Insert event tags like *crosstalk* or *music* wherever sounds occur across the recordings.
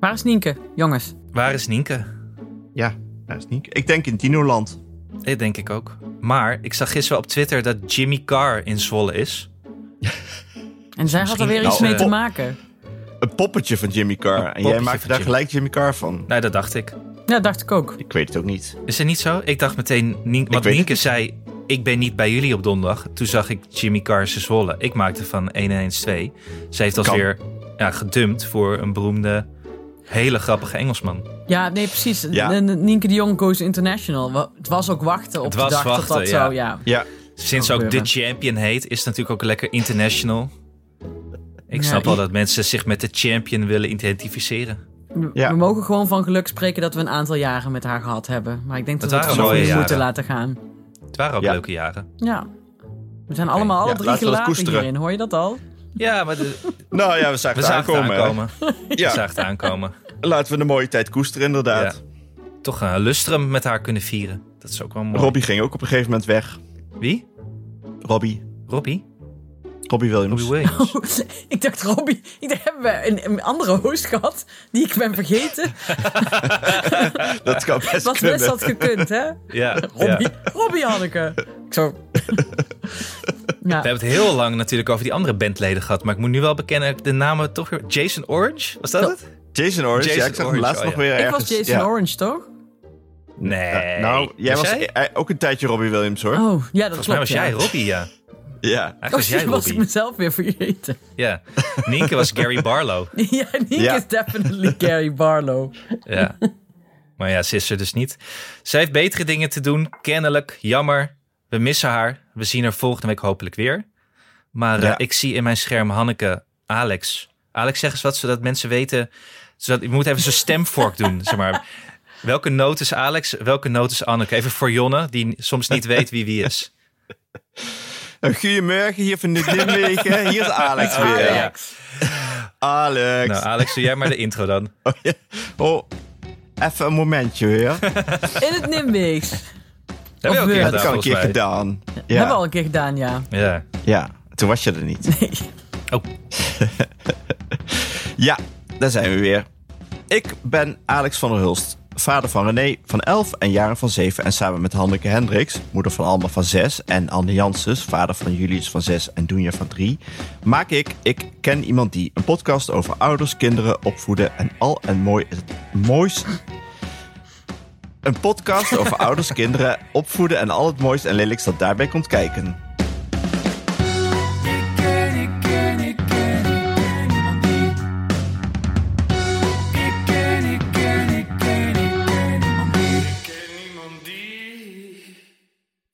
Waar is Nienke, jongens? Waar is Nienke? Ja, dat is niet. Ik denk in Dinoland. Dat denk ik ook. Maar ik zag gisteren op Twitter dat Jimmy Carr in Zwolle is. En zij had er Misschien- weer iets nou, mee eh, te maken. Een poppetje van Jimmy Een Carr. En jij poppetje maakt van daar Jim- gelijk Jimmy Carr van. Nou, dat dacht ik. Ja, dacht ik ook. Ik weet het ook niet. Is het niet zo? Ik dacht meteen, Nien, want weet het Nienke zei, ik ben niet bij jullie op donderdag. Toen zag ik Jimmy Carr ze zwollen. Ik maakte van 1 en 1 is 2. Ze heeft alweer ja, gedumpt voor een beroemde, hele grappige Engelsman. Ja, nee, precies. Ja. En Nienke de Jong goes international. Wa- Het was ook wachten op Het de was dag dat wachten, dat ja. zo... Ja. Ja, Sinds Kan ook de gebeuren. champion heet, is het natuurlijk ook lekker international. Ik Ja, snap ik- wel dat mensen zich met de champion willen identificeren. We- Ja. We mogen gewoon van geluk spreken dat we een aantal jaren met haar gehad hebben. Maar ik denk dat, Dat we het waren gewoon mooie niet moeten jaren. laten gaan. Het waren ook Ja. leuke jaren. Ja. We zijn allemaal alle Ja, drie laten we dat gelaten koesteren. hierin, hoor je dat al? *laughs* Ja, maar de- nou ja, we zagen we het zagen het aankomen. hè. aankomen. We Ja, zagen het aankomen. laten we de mooie tijd koesteren inderdaad. Toch een lustrum met haar kunnen vieren. Dat is ook wel mooi. Robbie ging ook op een gegeven moment weg. Wie? Robbie. Robbie? Robbie Williams. Robbie Williams. *laughs* ik dacht, Robbie, ik dacht, hebben we een, een andere host gehad die ik ben vergeten? *laughs* Dat kan best Wat kunnen. best had gekund, hè? Ja, ja. Robbie, Robbie Hanneke. Ik zo... *laughs* We ja. hebben het heel lang natuurlijk over die andere bandleden gehad. Maar ik moet nu wel bekennen, dat ik de namen toch weer... Jason Orange? Was dat Nou, Ja. het? Jason Orange. Jason ja, ik zag Orange, hem laatst oh nog ja. weer Ik ergens. was Jason ja. Orange, toch? Nee. Nou, jij was Volgens eh, ook een tijdje Robbie Williams hoor. Oh, ja, dat mij klopt. was ja. jij Robbie, ja. Ja. Eigenlijk was Oh, jij toen was ik Robbie. mezelf weer vergeten. *laughs* Ja. Nienke was Gary Barlow. ja, Nick Ja. is definitely Gary Barlow. Ja. Maar ja, ze is er dus niet. Zij heeft betere dingen te doen, kennelijk. Jammer. We missen haar. We zien haar volgende week hopelijk weer. Maar eh, Ja. ik zie in mijn scherm Hanneke, Alex. Alex, zeg eens wat, zodat mensen weten. Zodat, je moet even zo'n stemvork *laughs* doen, zeg maar. Welke noot is Alex? Welke noot is Anneke? Even voor Jonne, die soms niet weet wie wie *laughs* is. Een Goedemorgen Nou, hier van de Nijmegen. Hier is Alex weer. Alex. Alex. Nou, Alex, doe jij maar de intro dan. Oh, ja. Oh, even een momentje weer. In het Nimbigs. Dat heb je ook een keer Ja, dat gedaan, heb ik al een volgens keer mij. gedaan. Hebben we al Ja. een keer gedaan, ja. Ja. ja, toen was je er niet. Oh, Ja, daar zijn we weer. Ik ben Alex van der Hulst, vader van René van 11 en Jaren van 7. En samen met Hanneke Hendricks, moeder van Alma van 6. En Anne Janssens, vader van Julius van 6 en Doenja van 3. Maak ik Ik Ken Iemand Die. Een podcast over ouders, kinderen, opvoeden en al en mooi het moois. Een podcast over *laughs* ouders, kinderen, opvoeden en al het moois en lelijks dat daarbij komt kijken.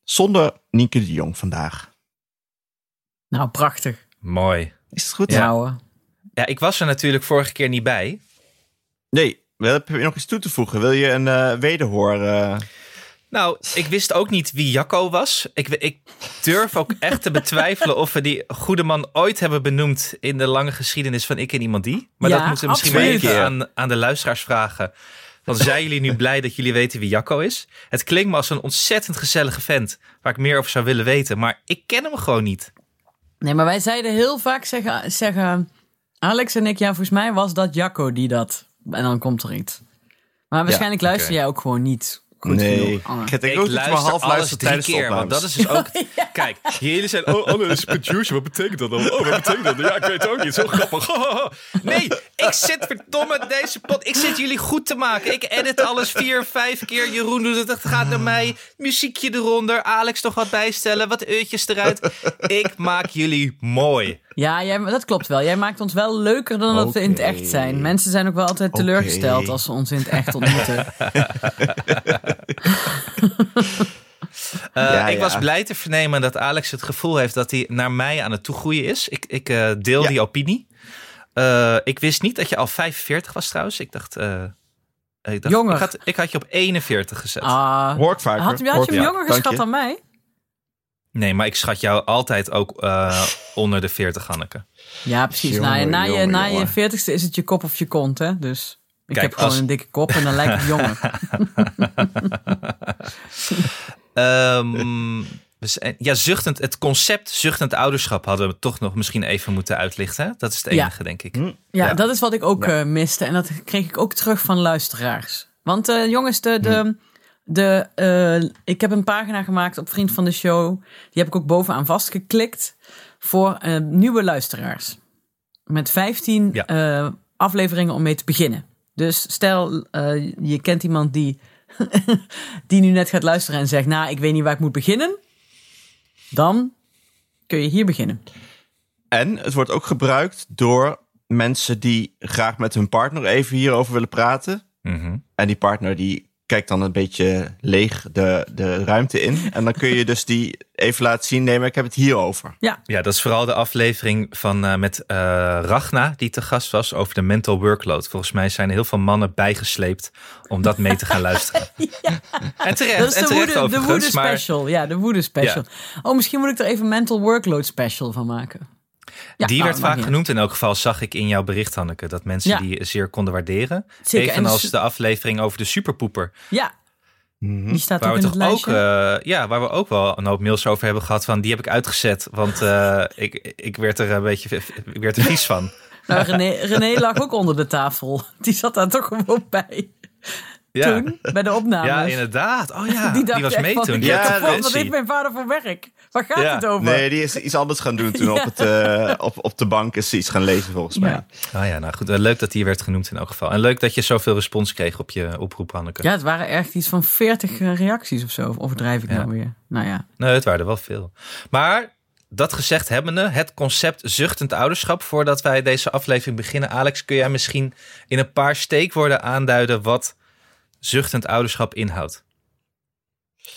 Zonder Nienke de Jong vandaag. Nou, prachtig. mooi. Is het goed? Nou, eh, Ja, ik was er natuurlijk vorige keer niet bij. Nee, wel, heb je nog iets toe te voegen? Wil je een eh, wederhoor? eh? Nou, ik wist ook niet wie Jacco was. Ik, we- ik durf ook echt te betwijfelen of we die goede man ooit hebben benoemd in de lange geschiedenis van Ik en Iemand Die. Maar Ja, dat moeten we misschien maar absoluut. even aan, aan de luisteraars vragen. Want zijn jullie nu blij dat jullie weten wie Jacco is? Het klinkt me als een ontzettend gezellige vent waar ik meer over zou willen weten. Maar ik ken hem gewoon niet. nee, maar wij zeiden heel vaak, zeggen, zeggen Alex en ik, ja, volgens mij was dat Jacco die dat. En dan komt er iets. Maar waarschijnlijk luister jij ook gewoon niet goed nee, genoeg, Anne. ik denk ook dat je maar half alles luistert drie tijdens de keer. Want dat opnames. is dus ook... Kijk, jullie zijn... Oh, Anne is producer. Wat betekent dat dan? Oh, wat betekent dat? Ja, ik weet het ook niet. Zo grappig. *laughs* Nee, ik zit verdomme deze pot. Ik zit jullie goed te maken. Ik edit alles vier, vijf keer. Jeroen doet het. Het gaat naar mij. Muziekje eronder. Alex nog wat bijstellen. Wat eurtjes eruit. Ik maak jullie mooi. Ja, jij, dat klopt wel. Jij maakt ons wel leuker dan dat we in het Oké. echt zijn. Mensen zijn ook wel altijd Oké. teleurgesteld als ze ons in het echt ontmoeten. Eh, Ja, ik ja. was blij te vernemen dat Alex het gevoel heeft dat hij naar mij aan het toegroeien is. Ik, ik eh, deel Ja. die opinie. Eh, ik wist niet dat je al 45 was trouwens. Ik dacht, eh, ik, dacht Jonger. Ik, had, ik had je op 41 gezet. Ah, Hoor ik vaker. had, had Hoor ik je hem vaker. jonger Dank geschat je. dan mij? Nee, maar ik schat jou altijd ook *laughs* eh, onder de 40, Hanneke. Ja, precies. Jongen, na je, na, je, jongen, na je jongen. veertigste is het je kop of je kont, hè? Dus ik Kijk, heb gewoon als- een dikke kop en dan *laughs* lijkt het jonger. Ehm, We zijn- Ja, zuchtend, het concept zuchtend ouderschap hadden we toch nog misschien even moeten uitlichten. Dat is het Ja. enige, denk ik. Hm. Ja, Ja. dat is wat ik ook Ja. eh, miste. En dat kreeg ik ook terug van luisteraars. Want eh, jongens, de, de, de, eh, ik heb een pagina gemaakt op Vriend van de Show. Die heb ik ook bovenaan vastgeklikt voor eh, nieuwe luisteraars. Met 15 Ja. eh, afleveringen om mee te beginnen. Dus stel, eh, je kent iemand die, *laughs* die nu net gaat luisteren en zegt... nou, ik weet niet waar ik moet beginnen. Dan kun je hier beginnen. En het wordt ook gebruikt door mensen die graag met hun partner even hierover willen praten. Mhm. En die partner die kijkt dan een beetje leeg de, de ruimte in. En dan kun je dus die even laten zien, nee, maar ik heb het hierover. Ja, Ja, dat is vooral de aflevering van, eh, met eh, Ragna, die te gast was, over de mental workload. Volgens mij zijn er heel veel mannen bijgesleept om dat mee *laughs* te gaan luisteren. En terecht, Dat is en de terecht woede, de woede overigens. Maar special. Ja, de woede special. Oh, misschien moet ik er even mental workload special van maken. Ja, die nou, werd dat maakt vaak niet genoemd. In elk geval zag ik in jouw bericht, Hanneke, dat mensen Ja. die zeer konden waarderen. Zeker, en Evenals dus- de aflevering over de superpoeper. uit. Ja, die staat Mhm. Waar ook we in het toch ook, lijstje. eh, ja, waar we ook wel een hoop mails over hebben gehad van die heb ik uitgezet. Want eh, ik, ik werd er een beetje ik werd er *laughs* vies van. Nou, René, René lag ook onder de tafel. *laughs* Die zat daar toch gewoon bij. Ja, Toen, bij de opnames. ja inderdaad. Oh ja, *laughs* Die die, dacht was echt mee van, toen. "What Die Ja, had the dat fuck, een Wat heeft pensie. mijn vader voor werk? Waar gaat Ja, het over? Nee, die is iets anders gaan doen toen *laughs* op, het, eh, op, op de bank is ze iets gaan lezen volgens mij. Ja. Oh ja, nou goed. eh, Leuk dat die werd genoemd in elk geval. En leuk dat je zoveel respons kreeg op je oproep, Hanneke. Ja, het waren echt iets van 40 reacties of zo. Of overdrijf ik Ja. nou weer? Nou ja. Nee, het waren er wel veel. Maar dat gezegd hebbende, het concept zuchtend ouderschap. Voordat wij deze aflevering beginnen, Alex, kun jij misschien in een paar steekwoorden aanduiden wat zuchtend ouderschap inhoudt?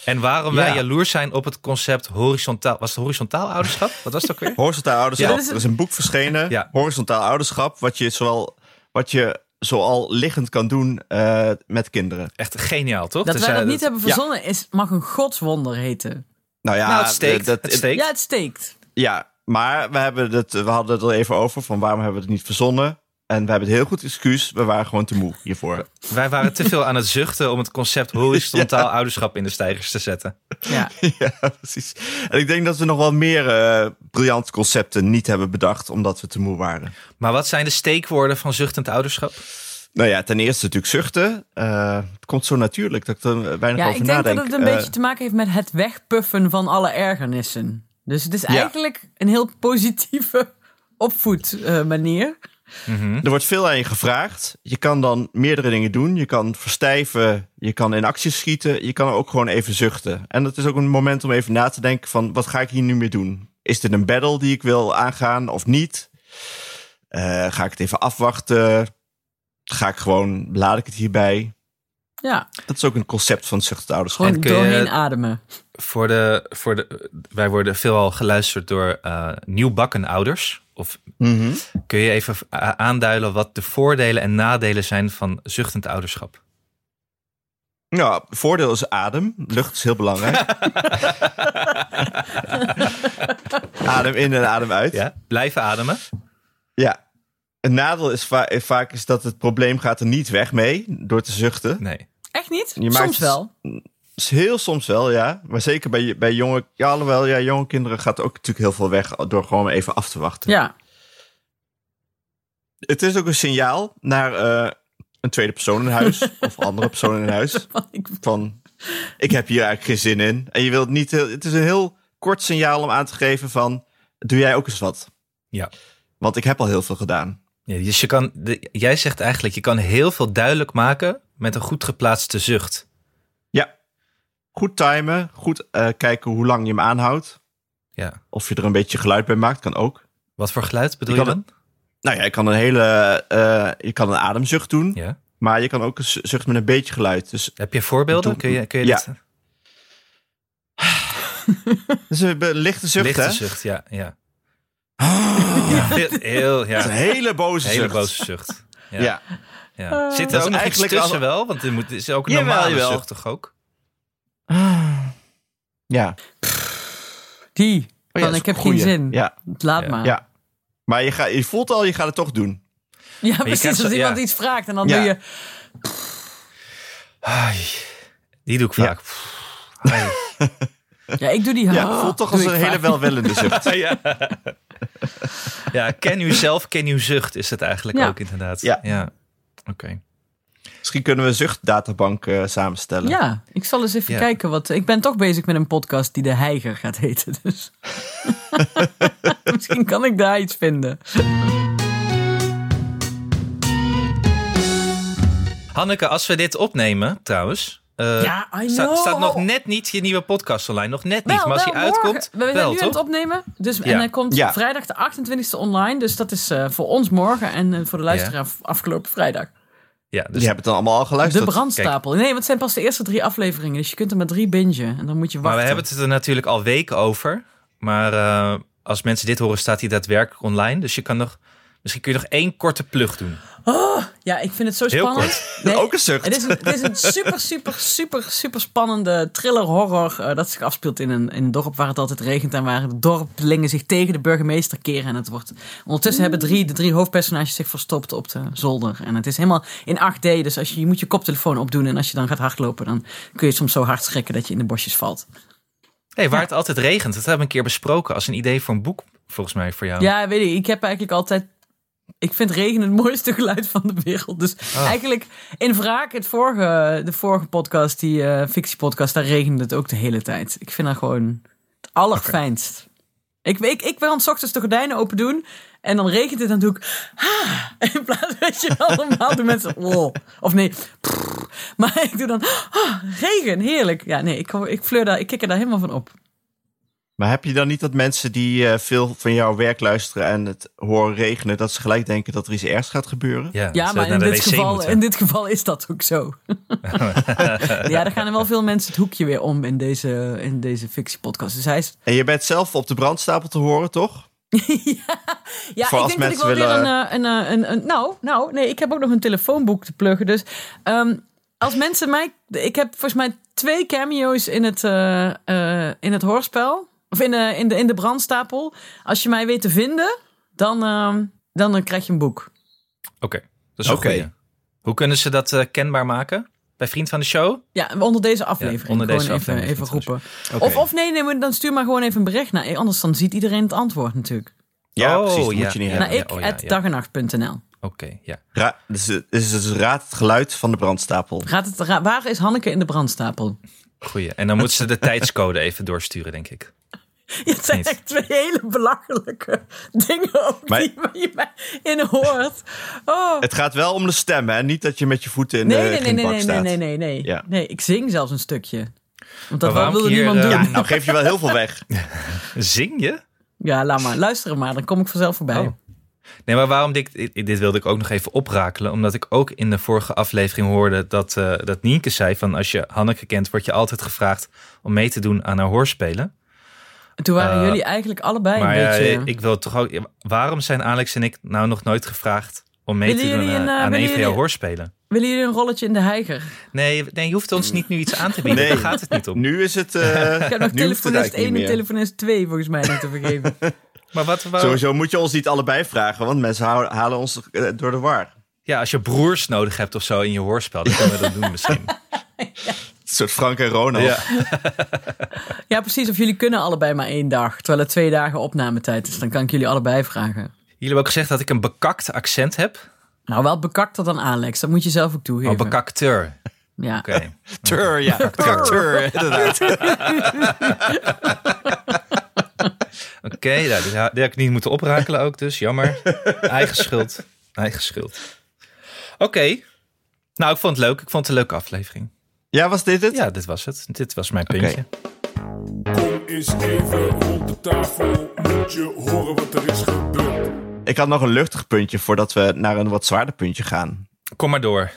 En waarom wij Ja. jaloers zijn op het concept horizontaal. Was het horizontaal ouderschap? *laughs* Wat was het ook weer? Horizontaal Ja, ouderschap. dit is- Er is een boek verschenen. Ja. Horizontaal ouderschap, wat je, zowel, wat je zoal liggend kan doen eh, met kinderen. Echt geniaal, toch? Dat Dus, wij eh, dat niet hebben verzonnen is, mag een godswonder heten. Nou ja, Nou, het steekt. dat- het steekt. Ja, het steekt. Ja, maar we, hebben het, we hadden het er even over van waarom hebben we het niet verzonnen. En we hebben het heel goed excuus. We waren gewoon te moe hiervoor. Wij waren te veel aan het zuchten om het concept horizontaal ouderschap in de stijgers te zetten. Ja. *laughs* ja, precies. En ik denk dat we nog wel meer eh briljante concepten niet hebben bedacht omdat we te moe waren. Maar wat zijn de steekwoorden van zuchtend ouderschap? Nou ja, ten eerste natuurlijk zuchten. Eh, het komt zo natuurlijk dat ik er weinig Ja, over ik denk nadenk. dat het een Eh, beetje te maken heeft met het wegpuffen van alle ergernissen. Dus het is Ja. eigenlijk een heel positieve *laughs* opvoedmanier. Er wordt veel aan je gevraagd. Je kan dan meerdere dingen doen. Je kan verstijven, je kan in actie schieten, je kan ook gewoon even zuchten. En dat is ook een moment om even na te denken van wat ga ik hier nu mee doen? Is dit een battle die ik wil aangaan of niet? Eh, ga ik het even afwachten? Ga ik gewoon, laat ik het hierbij? ja, Dat is ook een concept van zuchtend ouderschap. gewoon En kun je- doorheen ademen. Voor de, voor de, wij worden veelal geluisterd door eh nieuwbakken ouders. Of Mhm. kun je even a- aanduiden wat de voordelen en nadelen zijn van zuchtend ouderschap? Ja, voordeel is adem. Lucht is heel belangrijk. adem in en adem uit. Ja? Blijven ademen. Ja. Een nadeel is va- eh, vaak is dat het probleem gaat er niet weg mee door te zuchten. Nee. Echt niet? Je maakt Soms het- wel. Is Heel soms wel, ja. Maar zeker bij, bij jonge, ja, alhoewel, ja, jonge kinderen gaat ook natuurlijk heel veel weg door gewoon even af te wachten. Ja. Het is ook een signaal naar eh, een tweede persoon in huis of andere persoon in huis Want ik- van ik heb hier eigenlijk geen zin in. En je wilt niet, heel- het is een heel kort signaal om aan te geven van doe jij ook eens wat. Ja. Want ik heb al heel veel gedaan. Ja, dus je kan, de- jij zegt eigenlijk, je kan heel veel duidelijk maken met een goed geplaatste zucht. Ja. Goed timen, goed eh, kijken hoe lang je hem aanhoudt. Ja. Of je er een beetje geluid bij maakt, kan ook. Wat voor geluid bedoel Je je kan dan? Nou ja, je kan een hele. eh, je kan een ademzucht doen. Ja. Maar je kan ook een zu- zucht met een beetje geluid. Dus Heb je voorbeelden? Doe- Kun je, kun je Ja. dit- dat is een be- dus lichte zucht, lichte hè? Oh. zucht, ja. ja. ja. Heel, heel- ja. Dat is een hele boze hele zucht. boze zucht. Ja. Ja. Ja. Oh. Zit er is ook nog eigenlijk eigenlijk wel- tussen wel? Want er moet, is ook een Jawel, normale jawel. zucht toch ook? Ja. Die. Oh ja, van, dat is ik heb een goeie. geen zin. Oh. Ja. Laat Ja. maar. Ja, ja. Maar je, ga, je voelt al, je gaat het toch doen. precies. krijgt Als zo- ja. iemand iets vraagt en dan Ja. doe je... *laughs* Ai, die doe ik vaak. Pff, ai. Ja, ik doe die. Ja, voelt toch doe als een ik hele vaak. welwillende zucht. *laughs* ja. ja, ken uw zelf, ken uw zucht is het eigenlijk Ja. ook inderdaad. Ja. Oké. Misschien kunnen we een zuchtdatabank eh, samenstellen. Ja, ik zal eens even Ja. kijken. Wat, ik ben toch bezig met een podcast die De Heiger gaat heten. Dus. *laughs* Misschien kan ik daar iets vinden. Hanneke, als we dit opnemen trouwens... eh, Ja, I sta- know. staat nog net niet je nieuwe podcast online. Nog net niet. Wel, maar als wel, hij uitkomt, morgen. We zijn wel nu toch? aan het opnemen. Dus, Ja. En hij komt Ja. vrijdag de 28e online. Dus dat is eh, voor ons morgen en eh, voor de luisteraar afgelopen vrijdag. Ja, dus Die hebben het dan allemaal al De geluisterd. brandstapel. Nee, want het zijn pas de eerste drie afleveringen. Dus je kunt er maar drie bingen. En dan moet je wachten. Maar we hebben het er natuurlijk al weken over. Maar eh, als mensen dit horen, staat hij daadwerkelijk online. Dus je kan nog, misschien kun je nog één korte plug doen. Ja, ik vind het zo Heel spannend. *laughs* Nee, Ook een zucht. Het is een, het is een *laughs* super, super, super, super spannende thriller-horror eh, dat zich afspeelt in een, in een dorp waar het altijd regent en waar de dorpelingen zich tegen de burgemeester keren. En het wordt, ondertussen hebben drie, de drie hoofdpersonages zich verstopt op de zolder. En het is helemaal in 8D, dus als je, je moet je koptelefoon opdoen en als je dan gaat hardlopen, dan kun je soms zo hard schrikken dat je in de bosjes valt. Hey, waar het altijd regent, dat hebben we een keer besproken als een idee voor een boek, volgens mij voor jou. Ja, weet ik. Ik heb eigenlijk altijd. Ik vind regen het *laughs* mooiste geluid van de wereld. Dus eigenlijk in wraak, het vorige, de vorige podcast, die eh fictiepodcast, daar regende het ook de hele tijd. Ik vind dat gewoon het allerfijnst. Ik, ik, ik wil 's ochtends de gordijnen open doen en dan regent het en dan doe ik... "Ah." *laughs* in plaats dat je allemaal de mensen... *laughs* "Oh." Of nee, "Prrr." maar *laughs* ik doe dan... "Ah, regen, heerlijk. Ja, nee, ik, ik, fleur daar, ik kik er daar helemaal van op. Maar heb je dan niet dat mensen die eh, veel van jouw werk luisteren en het horen regenen, dat ze gelijk denken dat er iets ergs gaat gebeuren? Ja, ze maar naar in de dit, wc geval, eh, moeten. in dit geval is dat ook *laughs* zo. ja, daar gaan er wel veel mensen het hoekje weer om in deze, in deze fictiepodcast. Dus hij is... En je bent zelf op de brandstapel te horen, toch? Ja, Voor ik denk als dat ik wel mensen weer willen- een, eh, een, eh, een, een- Nou, nou, nee, ik heb ook nog een telefoonboek te pluggen. Dus ehm, als mensen mij... Ik heb volgens mij twee cameo's in het, eh, eh, in het hoorspel. Of in, de in, de, in de brandstapel. Als je mij weet te vinden, dan, ehm, dan eh, krijg je een boek. Oké, dat is een Oké. goeie. Hoe kunnen ze dat eh, kenbaar maken? Bij Vriend van de Show? Ja, onder deze aflevering. onder deze gewoon aflevering, even, even trouwens. roepen. Oké. Of, of nee, nee, maar dan stuur maar gewoon even een bericht naar. Anders dan ziet iedereen het antwoord natuurlijk. Ja, Oh, precies. Dat ja. moet je niet Ja. hebben. naar ik, oh ja, at ja. dag en nacht.nl. Oké, ja. Ra- dus, eh, dus, dus raad het geluid van de brandstapel. Gaat het, ra- waar is Hanneke in de brandstapel? *laughs* Goeie. En dan moeten ze de tijdscode even doorsturen, denk ik. Ja, het zijn Niet. echt twee hele belachelijke *laughs* dingen ook Maar- die je mij in hoort. Oh. Het gaat wel om de stemmen en niet dat je met je voeten in Nee, de nee, nee, nee, gingbak nee, nee, staat. nee, nee, nee. Ja. Nee, ik zing zelfs een stukje. Want dat Maar waarom wilde hier, niemand eh, doen. Ja, Ja. nou geef je wel heel veel weg. Zing je? laat maar. Luister maar, dan kom ik vanzelf voorbij. Oh. Nee, maar waarom dit, dit wilde ik ook nog even oprakelen. Omdat ik ook in de vorige aflevering hoorde dat, eh, dat Nienke zei van als je Hanneke kent, word je altijd gevraagd om mee te doen aan haar hoorspelen. En toen waren Eh, jullie eigenlijk allebei maar een ja, beetje... ik wil toch ook. Waarom zijn Alex en ik nou nog nooit gevraagd om mee Willen te doen jullie een, eh, eh, aan willen een van jouw jullie- hoorspelen? Willen jullie een rolletje in de heiger? Nee, nee, je hoeft ons niet nu iets aan te bieden. Nee. Daar gaat het niet om. Nu is het... eh, *laughs* Ik heb nog nu hoeft het telefonist eigenlijk 1 en niet meer. telefonist 2 volgens mij niet te *laughs* vergeven. Maar wat, waar- Sowieso moet je ons niet allebei vragen, want mensen hou- halen ons eh, door de war. ja, als je broers nodig hebt of zo in je hoorspel, dan kunnen we dat doen misschien. Een soort Frank en Ronald. Ja. ja, precies. Of jullie kunnen allebei maar één dag. Terwijl het twee dagen opnametijd is. Dan kan ik jullie allebei vragen. Jullie hebben ook gezegd dat ik een bekakt accent heb. Nou, wel bekakter dan Alex. Dat moet je zelf ook toegeven. Oh, bekakteur. Ja. Oké. Tur, ja. Tur, inderdaad. Oké, nou, die, ha- die had ik niet moeten oprakelen ook, dus jammer. *laughs* Eigen schuld. Eigen schuld. Oké. Nou, ik vond het leuk. Ik vond het een leuke aflevering. Ja, was dit het? Ja, dit was het. Dit was mijn puntje. Kom eens even rond de tafel, moet je horen wat er is gebeurd. Ik had nog een luchtig puntje voordat we naar een wat zwaarder puntje gaan. Kom maar door.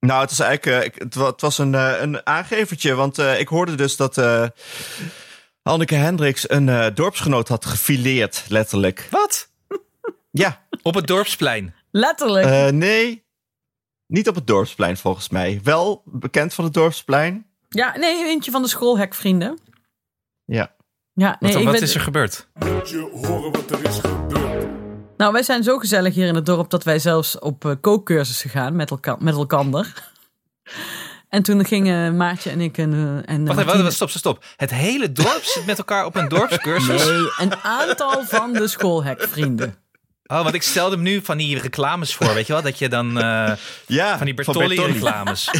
Nou, het, is eigenlijk, eh, ik- het, wa- het was een, eh, een aangevertje, want eh, ik hoorde dus dat eh Anneke Hendricks een eh, dorpsgenoot had gefileerd, letterlijk. Wat? Ja, Op het dorpsplein. Letterlijk. eh, *laughs* nee, niet op het dorpsplein volgens mij. Wel bekend van het dorpsplein. ja, nee, eentje van de schoolhekvrienden. Ja. Ja, Wat, nee, dan- ik wat ben- is er gebeurd? Moet je horen wat er is gebeurd. Nou, wij zijn zo gezellig hier in het dorp dat wij zelfs op eh, kookcursussen gaan met, elka met elkander. *laughs* En toen gingen Maatje en ik en, eh, en Wacht Martine- even, wacht even, stop, stop, stop. Het hele dorp zit met elkaar op een dorpscursus. Nee, een aantal van de *laughs* schoolhekvrienden. Oh, want ik stelde hem nu van die reclames voor, weet je wel? Dat je dan eh, Ja, van die *laughs* Bertolli-reclames.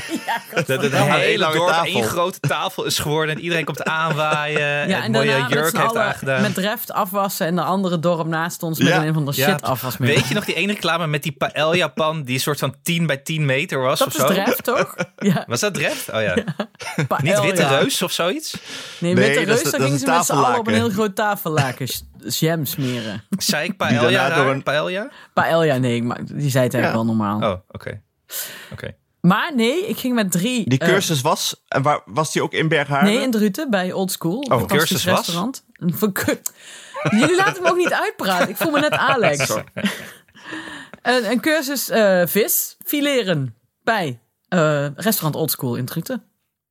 dat het een hele hele lange dorp tafel. één grote tafel is geworden en iedereen komt aanwaaien. en een Eh, mooie daarna met jurk z'n heeft allen aangedaan. Met Reft afwassen en de andere dorp naast ons met Ja. een van de Ja. shit afwasmiddel. Weet je nog die ene reclame met die paella-pan die soort van 10 bij 10 meter was dat of is zo? Reft *laughs* toch? Ja, Was dat Dreft? Oh *laughs* ja. Niet paella. Witte Reus of zoiets? Nee, Nee, Witte dat is Reus, de- daar dat gingen is ze een met z'n allen op een tafellaken. heel groot tafellaken s- jam *laughs* smeren. Zei ik Die daarna paella? door Een... een- Paella? Paella, nee, maar die zei het eigenlijk Ja. wel normaal. Oh, oké. Oké. Maar nee, ik ging met drie. Die eh, cursus was, en waar, was die ook in Berghagen? nee, in Druten bij Old School. een fantastisch Oh, cursus was? restaurant. Een verk- *laughs* Jullie laten me ook niet uitpraten. Ik voel me net Alex. *laughs* een, een cursus eh, vis fileren bij eh, restaurant Old School in Druten.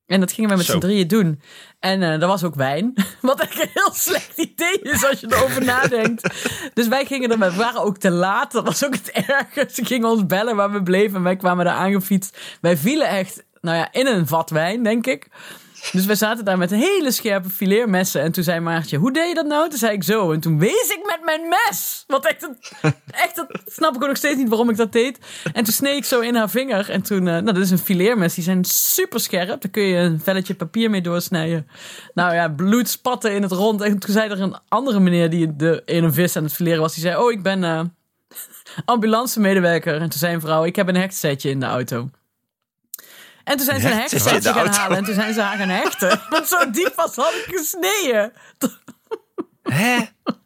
En dat gingen we met Zo. z'n drieën doen. En eh er was ook wijn. *laughs* Wat echt een heel slecht idee is als je *laughs* erover nadenkt. Dus wij gingen er, met- we waren ook te laat. Dat was ook het ergste. Ze gingen ons bellen waar we bleven. En wij kwamen daar aangefietst. Wij vielen echt, nou ja, in een vat wijn, denk ik. Dus wij zaten daar met hele scherpe fileermessen. En toen zei Maartje, hoe deed je dat nou? Toen zei ik zo. En toen wees ik met mijn mes. Wat echt, een, echt dat snap ik ook nog steeds niet waarom ik dat deed. En toen sneed ik zo in haar vinger. En toen, eh, nou dat is een fileermes. Die zijn super scherp. Daar kun je een velletje papier mee doorsnijden. Nou ja, bloed spatte in het rond. En toen zei er een andere meneer die de, in een vis aan het fileren was. Die zei, oh ik ben eh ambulance medewerker. En toen zei een vrouw, ik heb een hechtsetje in de auto. En toen zijn ze een hechtsetje in hechtsetje de gaan auto? halen. En toen zijn ze haar gaan *laughs* hechten. Want zo diep was had ik gesneden. *laughs* Hè?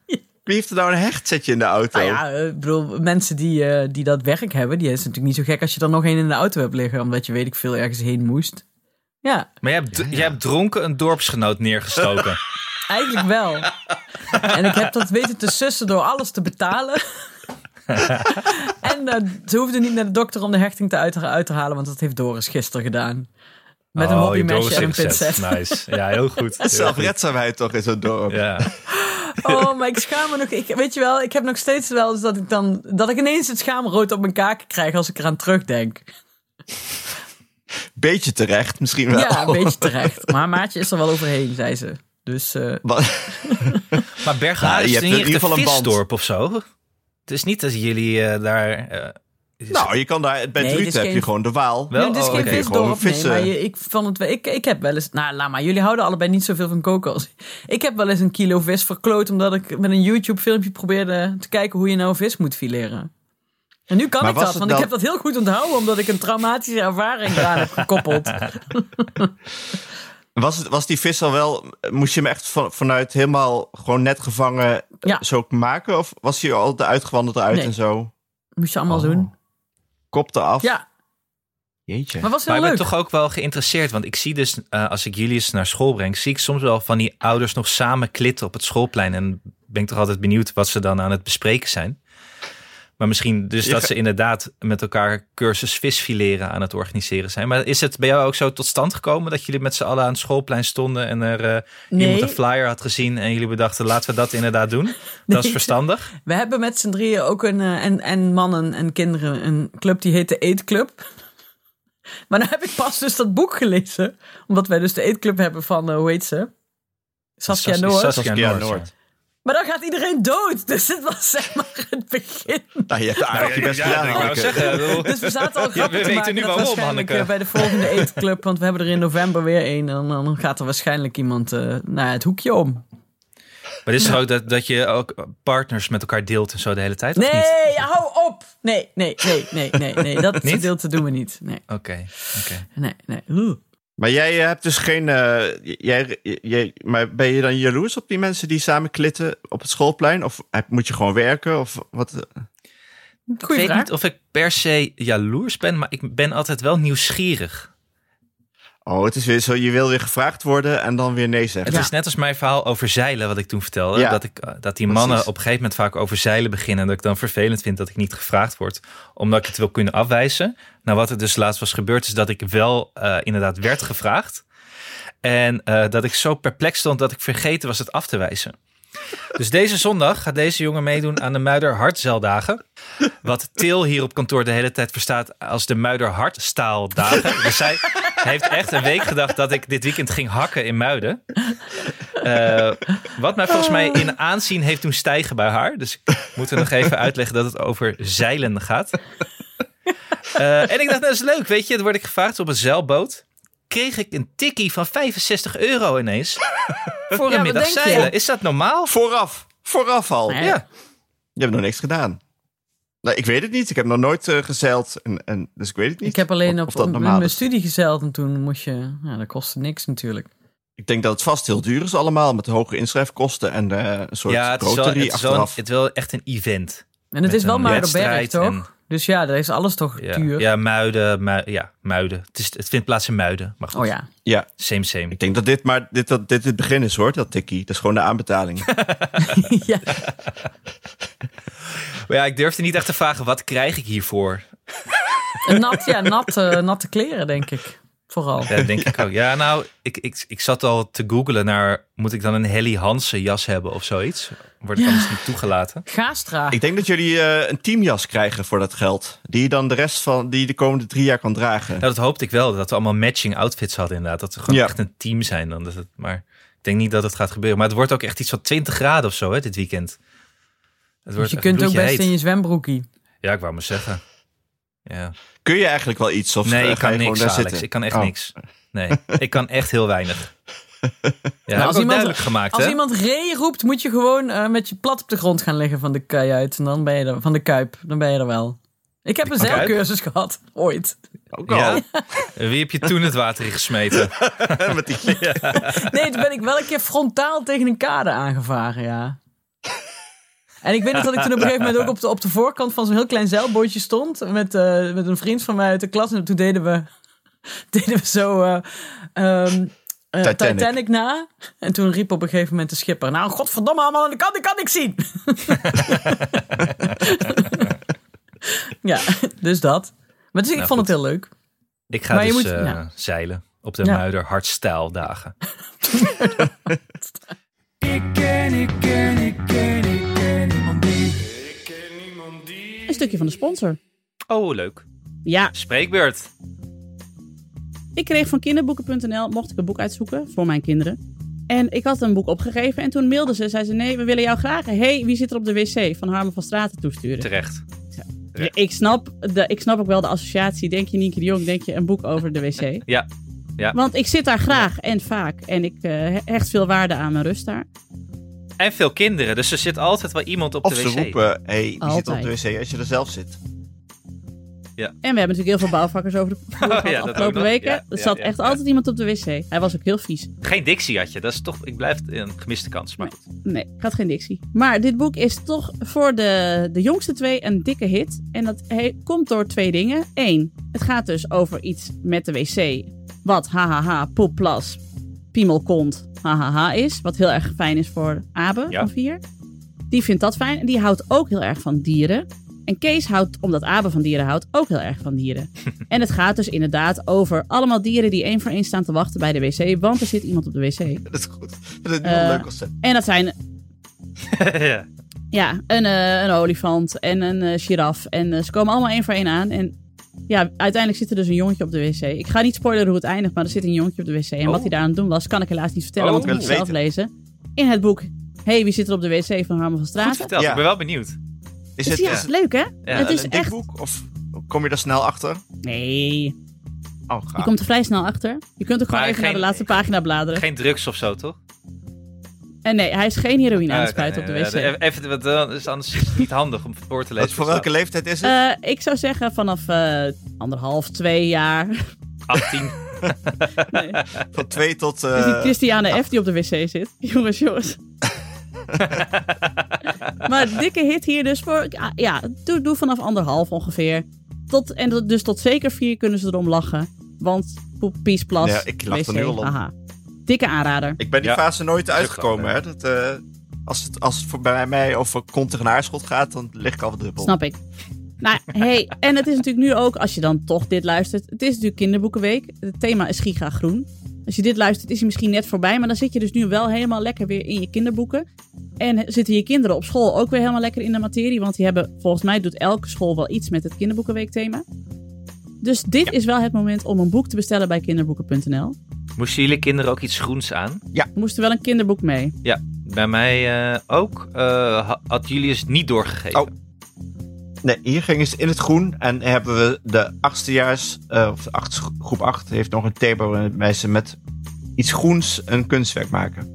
Wie heeft er nou een hechtzetje in de auto? Nou ja, eh, ik bedoel, mensen die, eh, die dat werk hebben, die is natuurlijk niet zo gek als je er nog één in de auto hebt liggen, omdat je weet ik veel ergens heen moest. Ja, Maar jij hebt, jij hebt dronken een dorpsgenoot *laughs* neergestoken. eigenlijk wel. en ik heb dat weten te sussen door alles te betalen. en eh, ze hoefde niet naar de dokter om de hechting te uit, uit te halen, want dat heeft Doris gisteren gedaan. Met een Oh, je hebt hobbymesje en een Doris Nou. ingezet. pincet. Nice. Ja, *laughs* heel goed. *laughs* Heel Zelfredzaamheid toch in zo'n dorp. goed. Ja. Oh, maar ik schaam me nog. Ik, weet je wel, ik heb nog steeds wel eens dat ik dan. dat ik ineens het schaamrood op mijn kaken krijg als ik eraan terugdenk. Beetje terecht, misschien wel. Ja, een *laughs* beetje terecht. Maar Maatje is er wel overheen, zei ze. Dus eh, Maar- Maar Berghagen Nou, je is hebt in in ieder geval een ieder geval een band. visdorp of zo. Het is niet dat jullie eh, daar... eh, is- nou, je kan daar, Nee, bij dit Druten is heb geen- je gewoon de Waal. Wel? nee, het is oh, dus geen oké, gewoon visdorp. Nee, vissen. maar je- ik, vond het, wel- ik, ik heb wel eens... Nou, laat maar. Jullie houden allebei niet zoveel van koken als... Ik heb wel eens een kilo vis verkloot... omdat ik met een YouTube-filmpje probeerde te kijken... hoe je nou vis moet fileren. En nu kan Maar ik was dat, het want ik dan- heb dat heel goed onthouden... omdat ik een traumatische ervaring eraan heb *laughs* gekoppeld. Was, het, was die vis al wel, moest je hem echt van, vanuit helemaal gewoon net gevangen eh, Ja. zo maken? Of was hij al de uitgewandeld eruit Nee. en zo? Moest je allemaal Oh. doen. Kopte af? Ja, Jeetje. maar was Maar heel ik leuk. ben toch ook wel geïnteresseerd. Want ik zie dus, eh, als ik Julius naar school breng... zie ik soms wel van die ouders nog samen klitten op het schoolplein. En ben ik toch altijd benieuwd wat ze dan aan het bespreken zijn. Maar misschien dus Je dat ge- ze inderdaad met elkaar cursus visfileren aan het organiseren zijn. Maar is het bij jou ook zo tot stand gekomen dat jullie met z'n allen aan het schoolplein stonden en er eh, iemand Nee. een flyer had gezien en jullie bedachten laten we dat inderdaad doen? Dat is Nee. verstandig. We hebben met z'n drieën ook een, eh, en, en mannen en kinderen, een club die heet de Eetclub. *laughs* Maar nou heb ik pas dus dat boek gelezen. Omdat wij dus de Eetclub hebben van, eh, hoe heet ze? Saskia Sas- Noor. Saskia Saskia Noord, Noord. ja. Maar dan gaat iedereen dood. *laughs* Dus het was zeg maar het begin. Nou, je hebt aardig je best Ja, gedaan, ik wou Hanneke. zeggen, ik bedoel, Dus we zaten al grappen we te weten maken nu dat waarom, waarschijnlijk eh, bij Hanneke. de volgende Eetclub. Want we hebben er in november weer een. En dan gaat er waarschijnlijk iemand eh, naar het hoekje om. Maar is het ook dat, dat je ook partners met elkaar deelt en zo de hele tijd? Of niet? Nee, ja, hou op. Nee, nee, nee, nee, nee. nee. Dat Niet? deel te doen we niet. Nee, Oké, oké. nee, nee. Oeh. Maar jij hebt dus geen. eh, jij, jij, maar ben je dan jaloers op die mensen die samen klitten op het schoolplein? Of heb- moet je gewoon werken? Of wat? Ik Goeie weet vraag. niet of ik per se jaloers ben, maar ik ben altijd wel nieuwsgierig. Oh, het is weer zo. Je wil weer gevraagd worden en dan weer nee zeggen. Het is net als mijn verhaal over zeilen, wat ik toen vertelde. Ja. Dat, ik, eh, dat die mannen Precies. op een gegeven moment vaak over zeilen beginnen. En dat ik dan vervelend vind dat ik niet gevraagd word. Omdat ik het wil kunnen afwijzen. Nou, wat er dus laatst was gebeurd, is dat ik wel eh, inderdaad werd gevraagd. En eh, dat ik zo perplex stond dat ik vergeten was het af te wijzen. Dus deze zondag gaat deze jongen meedoen aan de Muider Hartzeildagen. Wat Til hier op kantoor de hele tijd verstaat als de Muider Hartstaaldagen. Dus zij heeft echt een week gedacht dat ik dit weekend ging hakken in Muiden. Eh, wat mij volgens mij in aanzien heeft doen stijgen bij haar. Dus ik moet er nog even uitleggen dat het over zeilen gaat. Eh, en ik dacht, dat is leuk, weet je. Dan word ik gevraagd op een zeilboot. Kreeg ik een tikkie van 65 euro ineens. Voor een wat middag denk je? zeilen. Is dat normaal? Vooraf. Vooraf al. Nee. Ja. Je hebt nog niks gedaan. Nou, ik weet het niet. Ik heb nog nooit eh, gezeild. En, en, dus ik weet het niet. Ik heb alleen of- op, of dat op normaal mijn is. studie gezeild en toen moest je... Ja, dat kostte niks natuurlijk. Ik denk dat het vast heel duur is allemaal. Met de hoge inschrijfkosten en eh, een soort Ja, het is, wel, groterie het, is wel, achteraf. het is wel echt een event. En het is wel een Muidenberg, wedstrijd toch? Dus ja, daar is alles toch Ja, duur. ja muiden. Mui- ja, muiden. Het, is, het vindt plaats in muiden. Maar goed, Oh ja. *laughs* Ja, same, same. ik denk dat dit maar dit, dat, dit het begin is hoor, dat tikkie. Dat is gewoon de *laughs* aanbetaling. ja. Maar ja, ik durfde niet echt te vragen, wat krijg ik hiervoor? En Nat, ja, nat, eh, natte kleren, denk ik. Vooral. *laughs* Ja, denk ik ook. Ja, nou, ik, ik, ik zat al te googlen naar, moet ik dan een Helly Hansen jas hebben of zoiets? Word ik anders niet toegelaten? Gaastra. ik denk dat jullie eh, een teamjas krijgen voor dat geld. Die je dan de rest van, die je de komende drie jaar kan dragen. Nou, dat hoopte ik wel, dat we allemaal matching outfits hadden inderdaad. Dat we gewoon Ja. echt een team zijn dan. Dat het, maar ik denk niet dat het gaat gebeuren. Maar het wordt ook echt iets van 20 graden of zo, hè, dit weekend. Het Dus je echt kunt ook best bloedje in heet. je zwembroekie. Ja, ik wou maar zeggen. Ja. Kun je eigenlijk wel iets? Of eh, Nee, ga ik kan je gewoon niks, daar Alex. zitten? Ik kan echt Oh. niks. Nee, ik kan echt heel *laughs* weinig. Ja, als als iemand- iemand, duidelijk gemaakt, Als hè? iemand ree roept, moet je gewoon eh, met je plat op de grond gaan liggen van de kei uit. En dan ben je er, van de kuip. Dan ben je er wel. Ik heb een Kuip? zeilcursus gehad. Ooit. Ook al. Ja? Wie heb je toen het water in gesmeten? Eh, Met *laughs* die- Nee, toen ben ik wel een keer frontaal tegen een kade aangevaren, ja. En ik weet nog dat ik toen op een gegeven moment ook op de, op de voorkant van zo'n heel klein zeilbootje stond. Met, eh, met een vriend van mij uit de klas. En toen deden we, *laughs* deden we zo eh, ehm, eh, Titanic. Titanic. na. En toen riep op een gegeven moment de schipper. Nou, godverdomme allemaal aan de kant, ik kan niks zien. *laughs* ja, dus dat. Maar dus, ik Nou, vond het heel leuk. Ik ga Maar je dus moet- eh, ja. zeilen op de Ja. Muider Hardstijldagen. Een stukje van de sponsor. Oh, leuk. Ja, Spreekbeurt. ik kreeg van kinderboeken.nl, mocht ik een boek uitzoeken voor mijn kinderen. En ik had een boek opgegeven en toen mailde ze. Zei ze, nee, we willen jou graag. hey, wie zit er op de wc? Van Harmen van Straten toesturen. Terecht. Ja, ik, snap de, ik snap ook wel de associatie. Denk je Nienke de Jong, denk je een boek over de *laughs* wc. Ja. Ja. Want ik zit daar graag en vaak. En ik eh, hecht veel waarde aan mijn rust daar. En veel kinderen, dus er zit altijd wel iemand op Of de ze wc. roepen, hé, hey, die zit op de Altijd. wc als je er zelf zit. En we hebben natuurlijk heel veel bouwvakkers over de *laughs* vloer gehad Oh ja, de dat ook afgelopen nog. weken. Ja, er ja, zat ja, echt ja. altijd iemand op de wc. Hij was ook heel vies. Geen dictie had je, dat is toch, ik blijf een gemiste kans. Maar goed. Nee, ik had geen dictie. Maar dit boek is toch voor de, de jongste twee een dikke hit. En dat he- komt door twee dingen. Eén, het gaat dus over iets met de wc. Wat hahaha, poeplas, piemelkont, hahaha is. Wat heel erg fijn is voor Abe Ja. van vier. Die vindt dat fijn. En die houdt ook heel erg van dieren. En Kees houdt, omdat Abe van dieren houdt, ook heel erg van dieren. en het gaat dus inderdaad over allemaal dieren die één voor één staan te wachten bij de wc. Want er zit iemand op de wc. *laughs* Dat is goed. Dat is heel Eh, leuk als ze. En dat *laughs* zijn ja. Ja, een, eh, een olifant en een eh, giraf. En eh, ze komen allemaal één voor één aan. En ja, uiteindelijk zit er dus een jongetje op de wc. Ik ga niet spoileren hoe het eindigt, maar er zit een jongetje op de wc. En wat hij daar aan het doen was, kan ik helaas niet vertellen, Oh, want ik ik wil moet het het zelf lezen. In het boek, hey, wie zit er op de wc van Harmen van Goed Straten? verteld, Ja. ik ben wel benieuwd. Is Dus het, ja, is het leuk hè? het een is dik echt... boek? Of kom je er snel achter? Nee, je Oh, gaaf. komt er vrij snel achter. Je kunt ook gewoon Ah. Maar even naar de geen- laatste pagina bladeren. Geen drugs of zo, toch? En nee, hij is geen heroïne aan Ah, het oké, spuiten op de nee, wc. ja, Even, want dan is anders is het niet handig om voor te Wat- lezen. voor welke leeftijd is het? Eh, ik zou zeggen vanaf eh, anderhalf, twee *laughs* jaar. 18. *laughs* Nee. Van twee *laughs* tot... Het is eh, Dus die Christiane F. die op de wc zit. *laughs* Jongens, jongens. maar dikke hit hier dus voor... Ja, ja doe, doe vanaf anderhalf ongeveer. Tot, en dat- dus tot zeker vier kunnen ze erom lachen. Want poep, pies, plas, Ja, ik lach wc, er nu al om. haha. Dikke aanrader. Ik ben die Ja. fase nooit ook uitgekomen. wel, Hè? Dat, eh, als het, als het voor, bij mij over kont tegen naarschot gaat, dan lig ik al druppel. Snap ik. Nou, hey, en het is natuurlijk nu ook, als je dan toch dit luistert... Het is natuurlijk kinderboekenweek. Het thema is giga groen. Als je dit luistert, is hij misschien net voorbij. Maar dan zit je dus nu wel helemaal lekker weer in je kinderboeken. En zitten je kinderen op school ook weer helemaal lekker in de materie. Want die hebben, volgens mij doet elke school wel iets met het kinderboekenweekthema. Dus dit is wel het moment om een boek te bestellen bij kinderboeken.nl. Moesten jullie kinderen ook iets groens aan? Er moest er wel een kinderboek mee. Ja, bij mij eh, ook. Eh, ha- had Julius niet doorgegeven. Oh. Nee, hier gingen ze in het groen. En hebben we de achtstejaars, eh, of de achtste gro- groep 8, heeft nog een table waarin ze met iets groens een kunstwerk maken.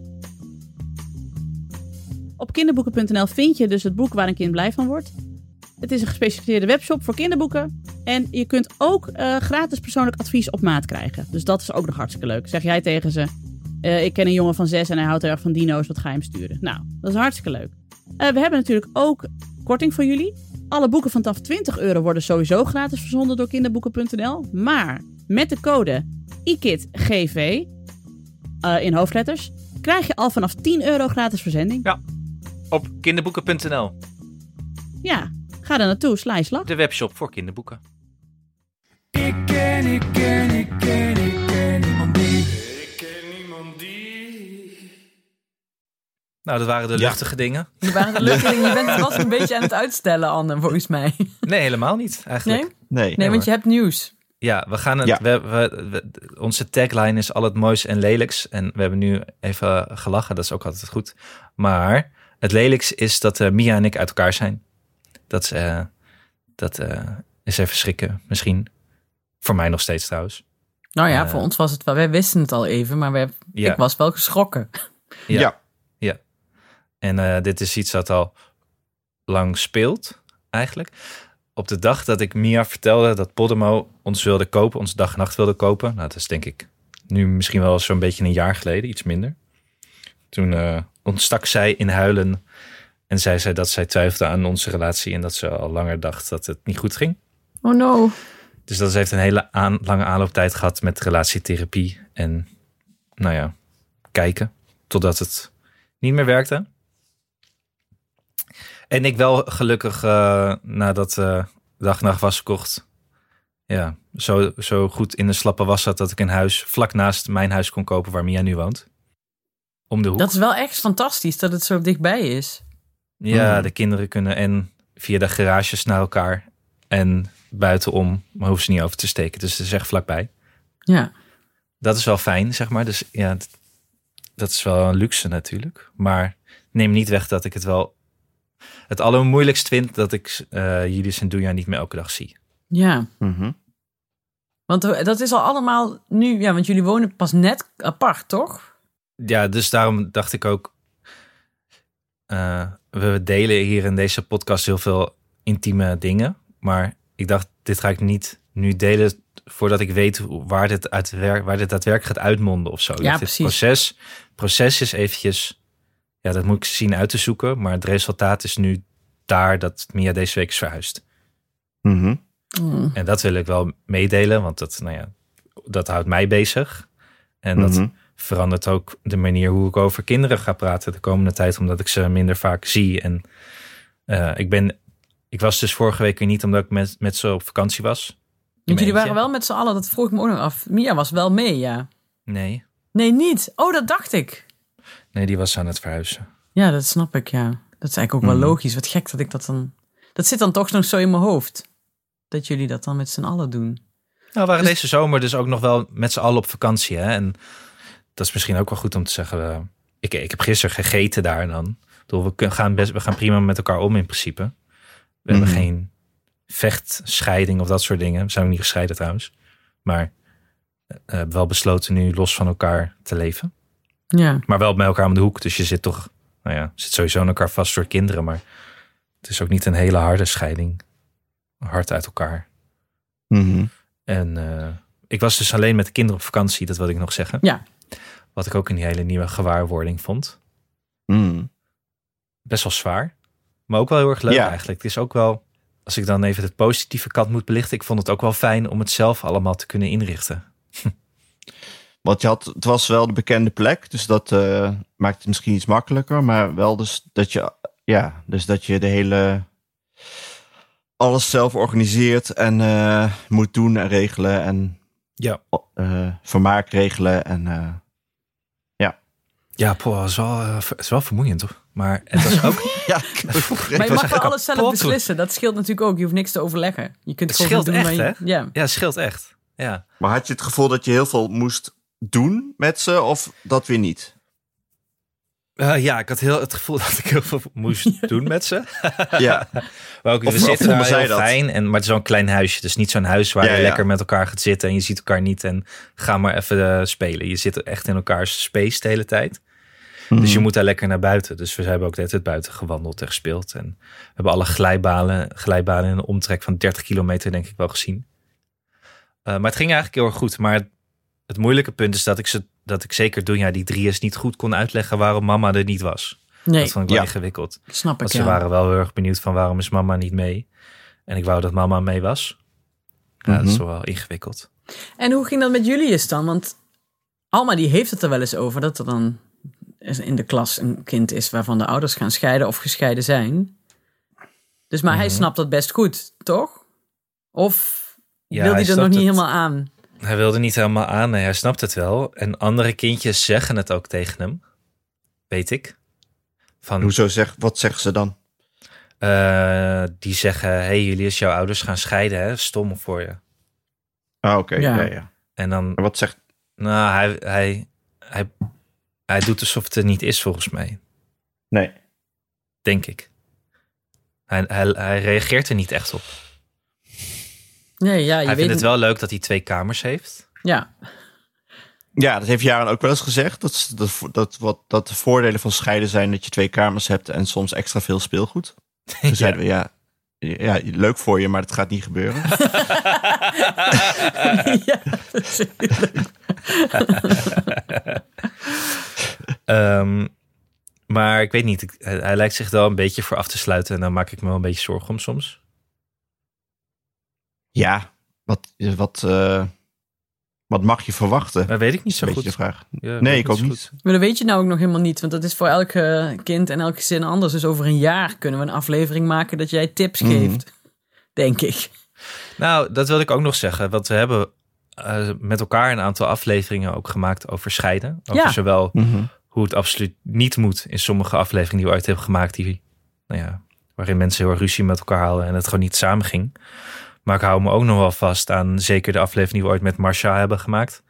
Op kinderboeken.nl vind je dus het boek waar een kind blij van wordt. Het is een gespecialiseerde webshop voor kinderboeken. En je kunt ook eh, gratis persoonlijk advies op maat krijgen. Dus dat is ook nog hartstikke leuk. Zeg jij tegen ze: eh, Ik ken een jongen van zes en hij houdt erg van dino's, wat ga je hem sturen? Nou, dat is hartstikke leuk. Eh, we hebben natuurlijk ook korting voor jullie. Alle boeken vanaf 20 euro worden sowieso gratis verzonden door kinderboeken.nl. Maar met de code IKIDGV eh, in hoofdletters krijg je al vanaf 10 euro gratis verzending. Op kinderboeken.nl, Ja, ga daar naartoe, sla je slag. de webshop voor kinderboeken. Ik ken, ik ken, ik ken, ik ken niemand die. Nou, dat waren de luchtige dingen. Die waren de leuke dingen. Je bent het was een beetje aan het uitstellen, Anne, volgens mij. Nee, helemaal niet eigenlijk. Nee? Nee. Nee, want je hebt nieuws. Ja, we gaan het, Ja. we- we- we- onze tagline is al het moois en lelijks. En we hebben nu even gelachen, dat is ook altijd goed. Maar het lelijks is dat eh, Mia en ik uit elkaar zijn. Dat, is, eh, dat eh, is even schrikken, misschien. Voor mij nog steeds trouwens. Nou ja, Eh. voor ons was het wel. Wij wisten het al even, maar wij, Ja. ik was wel geschrokken. Ja. Ja. Ja. En eh, dit is iets dat al lang speelt, eigenlijk. Op de dag dat ik Mia vertelde dat Podemo ons wilde kopen, ons dag en nacht wilde kopen. Nou, dat is denk ik nu misschien wel zo'n beetje een jaar geleden, iets minder. Toen eh, ontstak zij in huilen en zei zij dat zij twijfelde aan onze relatie en dat ze al langer dacht dat het niet goed ging. Oh no. Dus dat heeft een hele aan, lange aanlooptijd gehad met relatietherapie. En nou ja, kijken totdat het niet meer werkte. En ik wel gelukkig eh, nadat eh dag en nacht was gekocht. Ja, zo, zo goed in de slappe was dat dat ik een huis vlak naast mijn huis kon kopen waar Mia nu woont. Om de hoek. Dat is wel echt fantastisch dat het zo dichtbij is. Ja, Mm. de kinderen kunnen en via de garages naar elkaar en buitenom. Maar hoeven ze niet over te steken. Dus het is echt vlakbij. Ja. dat is wel fijn, zeg maar. Dus ja, d- dat is wel een luxe natuurlijk. Maar neem niet weg dat ik het wel het allermoeilijkst vind dat ik eh Julius en Doenja niet meer elke dag zie. Ja. Mhm. Want eh, dat is al allemaal nu, ja, want jullie wonen pas net apart, toch? Ja, dus daarom dacht ik ook. eh, we delen hier in deze podcast heel veel intieme dingen. Maar ik dacht, dit ga ik niet nu delen voordat ik weet hoe- waar dit, uitwer- waar dit daadwerkelijk gaat uitmonden of zo. Dat dit precies. Proces, proces is eventjes, ja, dat moet ik zien uit te zoeken. Maar het resultaat is nu daar dat Mia deze week is verhuisd. Mhm. Mm. En dat wil ik wel meedelen, want dat, nou ja, dat houdt mij bezig. En dat Mhm. verandert ook de manier hoe ik over kinderen ga praten de komende tijd, omdat ik ze minder vaak zie. En eh, ik ben, ik was dus vorige week weer niet omdat ik met, met ze op vakantie was. In Want jullie mijn waren wel met z'n allen, dat vroeg ik me ook nog af. Mia was wel mee, ja. eentje. Nee, Nee, niet. Oh, dat dacht ik. nee, die was aan het verhuizen. Ja, dat snap ik, ja. Dat is eigenlijk ook wel logisch. Wat gek dat ik dat dan... Dat zit dan toch nog zo in mijn hoofd. Dat jullie dat dan met z'n allen doen. Nou, we waren Dus- deze zomer dus ook nog wel met z'n allen op vakantie. Hè? En dat is misschien ook wel goed om te zeggen. eh, ik, ik heb gisteren gegeten daar en dan. Ik bedoel, we, kun- gaan best, we gaan prima met elkaar om in principe. We hebben Mhm. geen vechtscheiding of dat soort dingen. We zijn ook niet gescheiden trouwens. Maar eh, we hebben wel besloten nu los van elkaar te leven. Ja. Maar wel bij elkaar om de hoek. Dus je zit toch, nou ja, zit sowieso aan elkaar vast door kinderen. Maar het is ook niet een hele harde scheiding. Hard uit elkaar. Mhm. En eh, ik was dus alleen met de kinderen op vakantie, dat wilde ik nog zeggen. Ja. Wat ik ook een hele nieuwe gewaarwording vond. Mhm. Best wel zwaar, maar ook wel heel erg leuk Ja. eigenlijk. Het is ook wel, als ik dan even de positieve kant moet belichten, ik vond het ook wel fijn om het zelf allemaal te kunnen inrichten. Want je had, het was wel de bekende plek, dus dat eh, maakt het misschien iets makkelijker. Maar wel dus dat je, ja, dus dat je de hele, alles zelf organiseert en eh, moet doen en regelen. En Ja. o- eh, vermaak regelen. En eh, Ja, poh, het is wel, eh, ver- het is wel vermoeiend, toch? Maar het was ook... *laughs* ja, *laughs* ik begreep Maar je wat- mag wel alles zelf kapot. beslissen. Dat scheelt natuurlijk ook. Je hoeft niks te overleggen. Je kunt Het gewoon scheelt doen waar echt, je- hè? Ja. ja, het scheelt echt. Ja. maar had je het gevoel dat je heel veel moest doen met ze of dat weer niet? Eh, ja, ik had heel het gevoel *laughs* dat ik heel veel *laughs* moest doen met ze. Ja, Maar ook, Of- we of zitten voelden daar zij heel dat? fijn. En, maar het is wel een klein huisje. Dus niet zo'n huis waar Ja, je ja. lekker met elkaar gaat zitten. En je ziet elkaar niet. En ga maar even eh, spelen. Je zit echt in elkaars space de hele tijd. Dus Mhm. je moet daar lekker naar buiten. Dus we hebben ook de hele tijd buiten gewandeld en gespeeld. En we hebben alle glijbanen, glijbanen in een omtrek van 30 kilometer denk ik wel gezien. Eh, maar het ging eigenlijk heel erg goed. Maar het, het moeilijke punt is dat ik, ze, dat ik zeker Dunja die drie is niet goed kon uitleggen waarom mama er niet was. Nee, Dat vond ik wel Ja. ingewikkeld. snap ik. Want ze Ja. waren wel heel erg benieuwd van waarom is mama niet mee. En ik wou dat mama mee was. Ja, dat Mhm. is wel ingewikkeld. En hoe ging dat met Julius dan? Want Alma die heeft het er wel eens over dat er dan in de klas een kind is waarvan de ouders gaan scheiden of gescheiden zijn. Dus maar Mhm. hij snapt dat best goed, toch? Of Ja, wil hij hij er nog snapt niet het. helemaal aan? Hij wilde niet helemaal aan. Nee, hij snapt het wel. En andere kindjes zeggen het ook tegen hem. Weet ik. Van, Hoezo zeg, wat zeggen ze dan? eh, die zeggen, hey Julius, jouw ouders gaan scheiden hè? Stom voor je. Ah, oké. Ja. ja. Ja, En dan, En wat zegt... nou, hij, hij, hij, hij doet alsof het er niet is volgens mij. Nee. Denk ik. Hij, hij, hij reageert er niet echt op. Nee, ja, je hij weet vindt het wel leuk dat hij twee kamers heeft. *laughs* Ja, *laughs* Ja, dat heeft Jaren ook wel eens gezegd. Dat, ze- dat, vo- dat, wat, dat de voordelen van scheiden zijn dat je twee kamers hebt en soms extra veel speelgoed. Toen zeiden we, ja, ja, leuk voor je, maar dat gaat niet gebeuren. ja, precies. Ehm, maar ik weet niet, ik- hij, hij lijkt zich er wel een beetje voor af te sluiten. En daar maak ik me wel een beetje zorgen om soms. Ja, wat, wat, eh, wat mag je verwachten? Maar weet ik niet Is zo een beetje de goed. vraag. Ja, weet Nee, ik ook zo niet. Maar dat weet je nou ook nog helemaal niet, want dat is voor elk eh, kind en elk gezin anders. Dus over een jaar kunnen we een aflevering maken dat jij tips Mhm. geeft, denk ik. *laughs* goed. Nou, dat wilde ik ook nog zeggen. Want we hebben eh, met elkaar een aantal afleveringen ook gemaakt over scheiden. Over Ja. zowel Mhm. hoe het absoluut niet moet in sommige afleveringen die we ooit hebben gemaakt. Die, nou ja, waarin mensen heel erg ruzie met elkaar hadden en het gewoon niet samen ging. Maar ik hou me ook nog wel vast aan zeker de aflevering die we ooit met Marsha hebben gemaakt.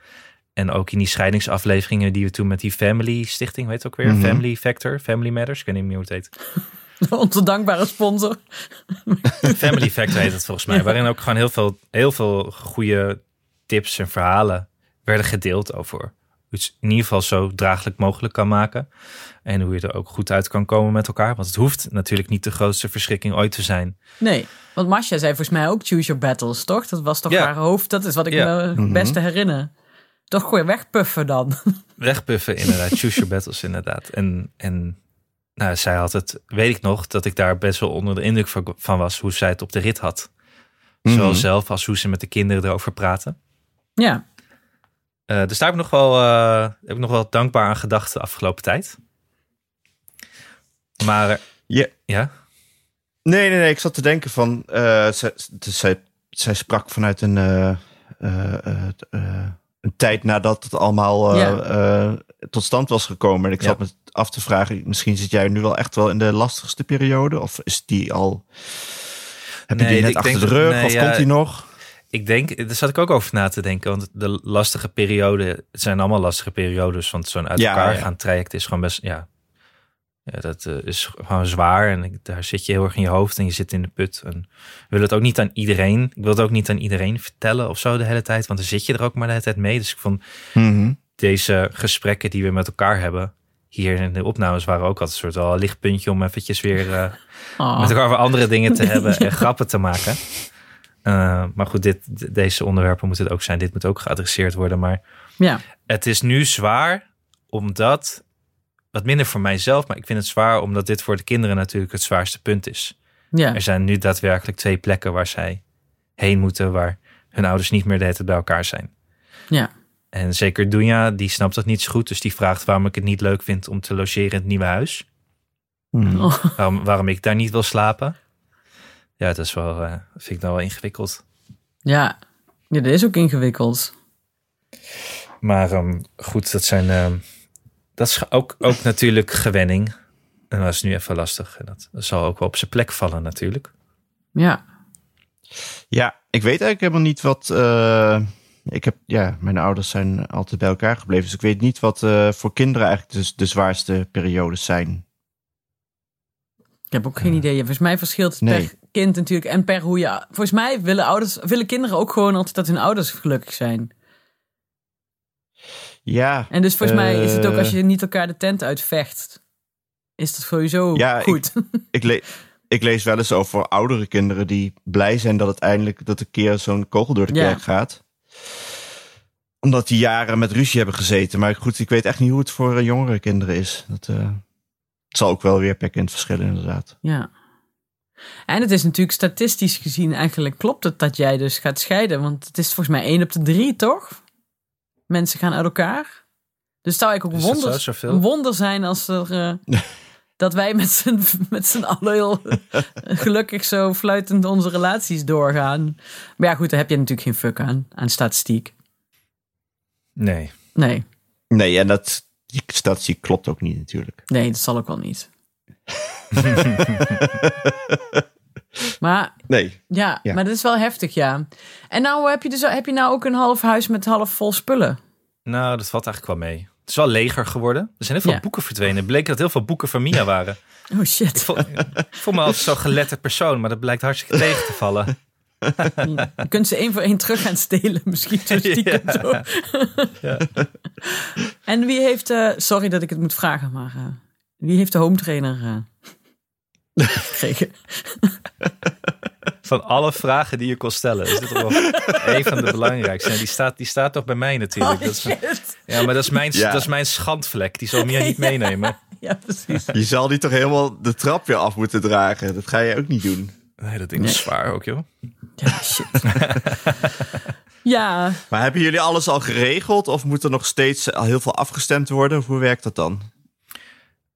En ook in die scheidingsafleveringen die we toen met die Family Stichting, weet ook weer? Mhm. Family Factor, Family Matters, ik weet niet meer hoe het heet. Onze dankbare sponsor. Family Factor heet het volgens mij. Waarin ook gewoon heel veel, heel veel goede tips en verhalen werden gedeeld over hoe je het in ieder geval zo draaglijk mogelijk kan maken. En hoe je er ook goed uit kan komen met elkaar. Want het hoeft natuurlijk niet de grootste verschrikking ooit te zijn. Nee, want Masha zei volgens mij ook choose your battles, toch? Dat was toch Ja. haar hoofd? Dat is wat ik Ja. Mhm. me het beste herinner. Toch gewoon wegpuffen dan. *laughs* Wegpuffen inderdaad, choose your battles inderdaad. En, en nou, zij had het, weet ik nog, dat ik daar best wel onder de indruk van, van was hoe zij het op de rit had. Zowel Mhm. zelf als hoe ze met de kinderen erover praten. ja, Eh, dus daar heb ik, nog wel, eh, heb ik nog wel dankbaar aan gedacht de afgelopen tijd. Maar eh, Ja. ja, Nee, nee, nee. Ik zat te denken van... eh, zij, dus zij, zij sprak vanuit een, eh, eh, eh, eh, een tijd nadat het allemaal eh, Ja. eh, tot stand was gekomen. En ik Ja. zat me af te vragen, misschien zit jij nu wel echt wel in de lastigste periode? Of is die al... Heb je Nee, die net ik achter denk de dat- rug? nee, of ja, komt die nog? ik denk, daar zat ik ook over na te denken. Want de lastige perioden, het zijn allemaal lastige periodes. Want zo'n uit Ja, elkaar ja. gaan traject is gewoon best, ja. ja dat eh, is gewoon zwaar. En ik- daar zit je heel erg in je hoofd en je zit in de put. En ik wil het ook niet aan iedereen, ik wil het ook niet aan iedereen vertellen of zo de hele tijd. Want dan zit je er ook maar de hele tijd mee. Dus ik vond, Mhm. deze gesprekken die we met elkaar hebben. Hier in de opnames waren ook altijd een soort wel een lichtpuntje om eventjes weer eh, Ah. met elkaar over andere dingen te hebben en grappen te maken. Eh, maar goed, dit, de- deze onderwerpen moeten het ook zijn. Dit moet ook geadresseerd worden. Maar ja. het is nu zwaar omdat, wat minder voor mijzelf, maar ik vind het zwaar omdat dit voor de kinderen natuurlijk het zwaarste punt is. ja. Er zijn nu daadwerkelijk twee plekken waar zij heen moeten, waar hun ouders niet meer de hele tijd bij elkaar zijn. Ja. En zeker Dunja, die snapt dat niet zo goed. Dus die vraagt waarom ik het niet leuk vind om te logeren in het nieuwe huis. Mhm. Oh. *laughs* Waarom, waarom ik daar niet wil slapen. Ja, dat nou is wel, eh, vind ik dan wel ingewikkeld. ja. Ja, dat is ook ingewikkeld. Maar ehm, goed, dat zijn. ehm, dat is ook, ook natuurlijk gewenning. En dat is nu even lastig. En dat zal ook wel op zijn plek vallen, natuurlijk. Ja. Ja, ik weet eigenlijk helemaal niet wat. eh, ik heb, ja, mijn ouders zijn altijd bij elkaar gebleven. Dus ik weet niet wat eh, voor kinderen eigenlijk de, de zwaarste periodes zijn. Ik heb ook geen idee. Volgens mij verschilt het Nee. per kind natuurlijk en per hoe je... Volgens mij willen, ouders, willen kinderen ook gewoon altijd dat hun ouders gelukkig zijn. Ja, En dus volgens mij is het ook Eh. als je niet elkaar de tent uitvecht, is dat sowieso Ja, ik- goed. *laughs* ik, le- ik lees wel eens over oudere kinderen die blij zijn dat het eindelijk dat een keer zo'n kogel door de Ja. kerk gaat. Omdat die jaren met ruzie hebben gezeten. Maar goed, ik weet echt niet hoe het voor eh, jongere kinderen is. Dat eh, het zal ook wel weer per kind verschillen, inderdaad. Ja. En het is natuurlijk statistisch gezien eigenlijk klopt het dat jij dus gaat scheiden. Want het is volgens mij één op de drie, toch? Mensen gaan uit elkaar. Dus het zou eigenlijk ook Is dat wonder, zo, zoveel? een wonder zijn als er, *laughs* eh, dat wij met z'n, met z'n allen heel gelukkig zo fluitend onze relaties doorgaan. Maar ja, goed, daar heb je natuurlijk geen fuck aan, aan statistiek. Nee. Nee, Nee, en dat, die statistiek klopt ook niet natuurlijk. nee, dat zal ook wel *laughs* niet. maar Nee. Ja, Ja. maar dat is wel heftig, ja. En nou heb je, dus, heb je nou ook een half huis met half vol spullen. Nou, dat valt eigenlijk wel mee. Het is wel leger geworden. Er zijn heel veel Ja. boeken verdwenen. Het bleek dat heel veel boeken van Mia waren. Oh Ik shit. voel, ik voel me altijd zo'n geletterd persoon, maar dat blijkt hartstikke tegen te vallen. Je kunt ze één voor één terug gaan stelen. *laughs* Misschien zo stiekem zo. *laughs* En wie heeft... eh, sorry dat ik het moet vragen, maar... eh, wie heeft de home trainer eh, *laughs* gekregen? Van alle vragen die je kon stellen. Is dit toch wel *laughs* een van de belangrijkste? En die staat, die staat toch bij mij natuurlijk. Oh Dat is, shit. ja, maar dat is, mijn, Ja. dat is mijn schandvlek. Die zal Mia niet meenemen. *laughs* Ja, precies. Je zal die toch helemaal de trap weer af moeten dragen. Dat ga je ook niet doen. Nee, dat ding is zwaar ook, joh. Ja, shit. *laughs* Ja, Maar hebben jullie alles al geregeld? Of moet er nog steeds al heel veel afgestemd worden? Of hoe werkt dat dan?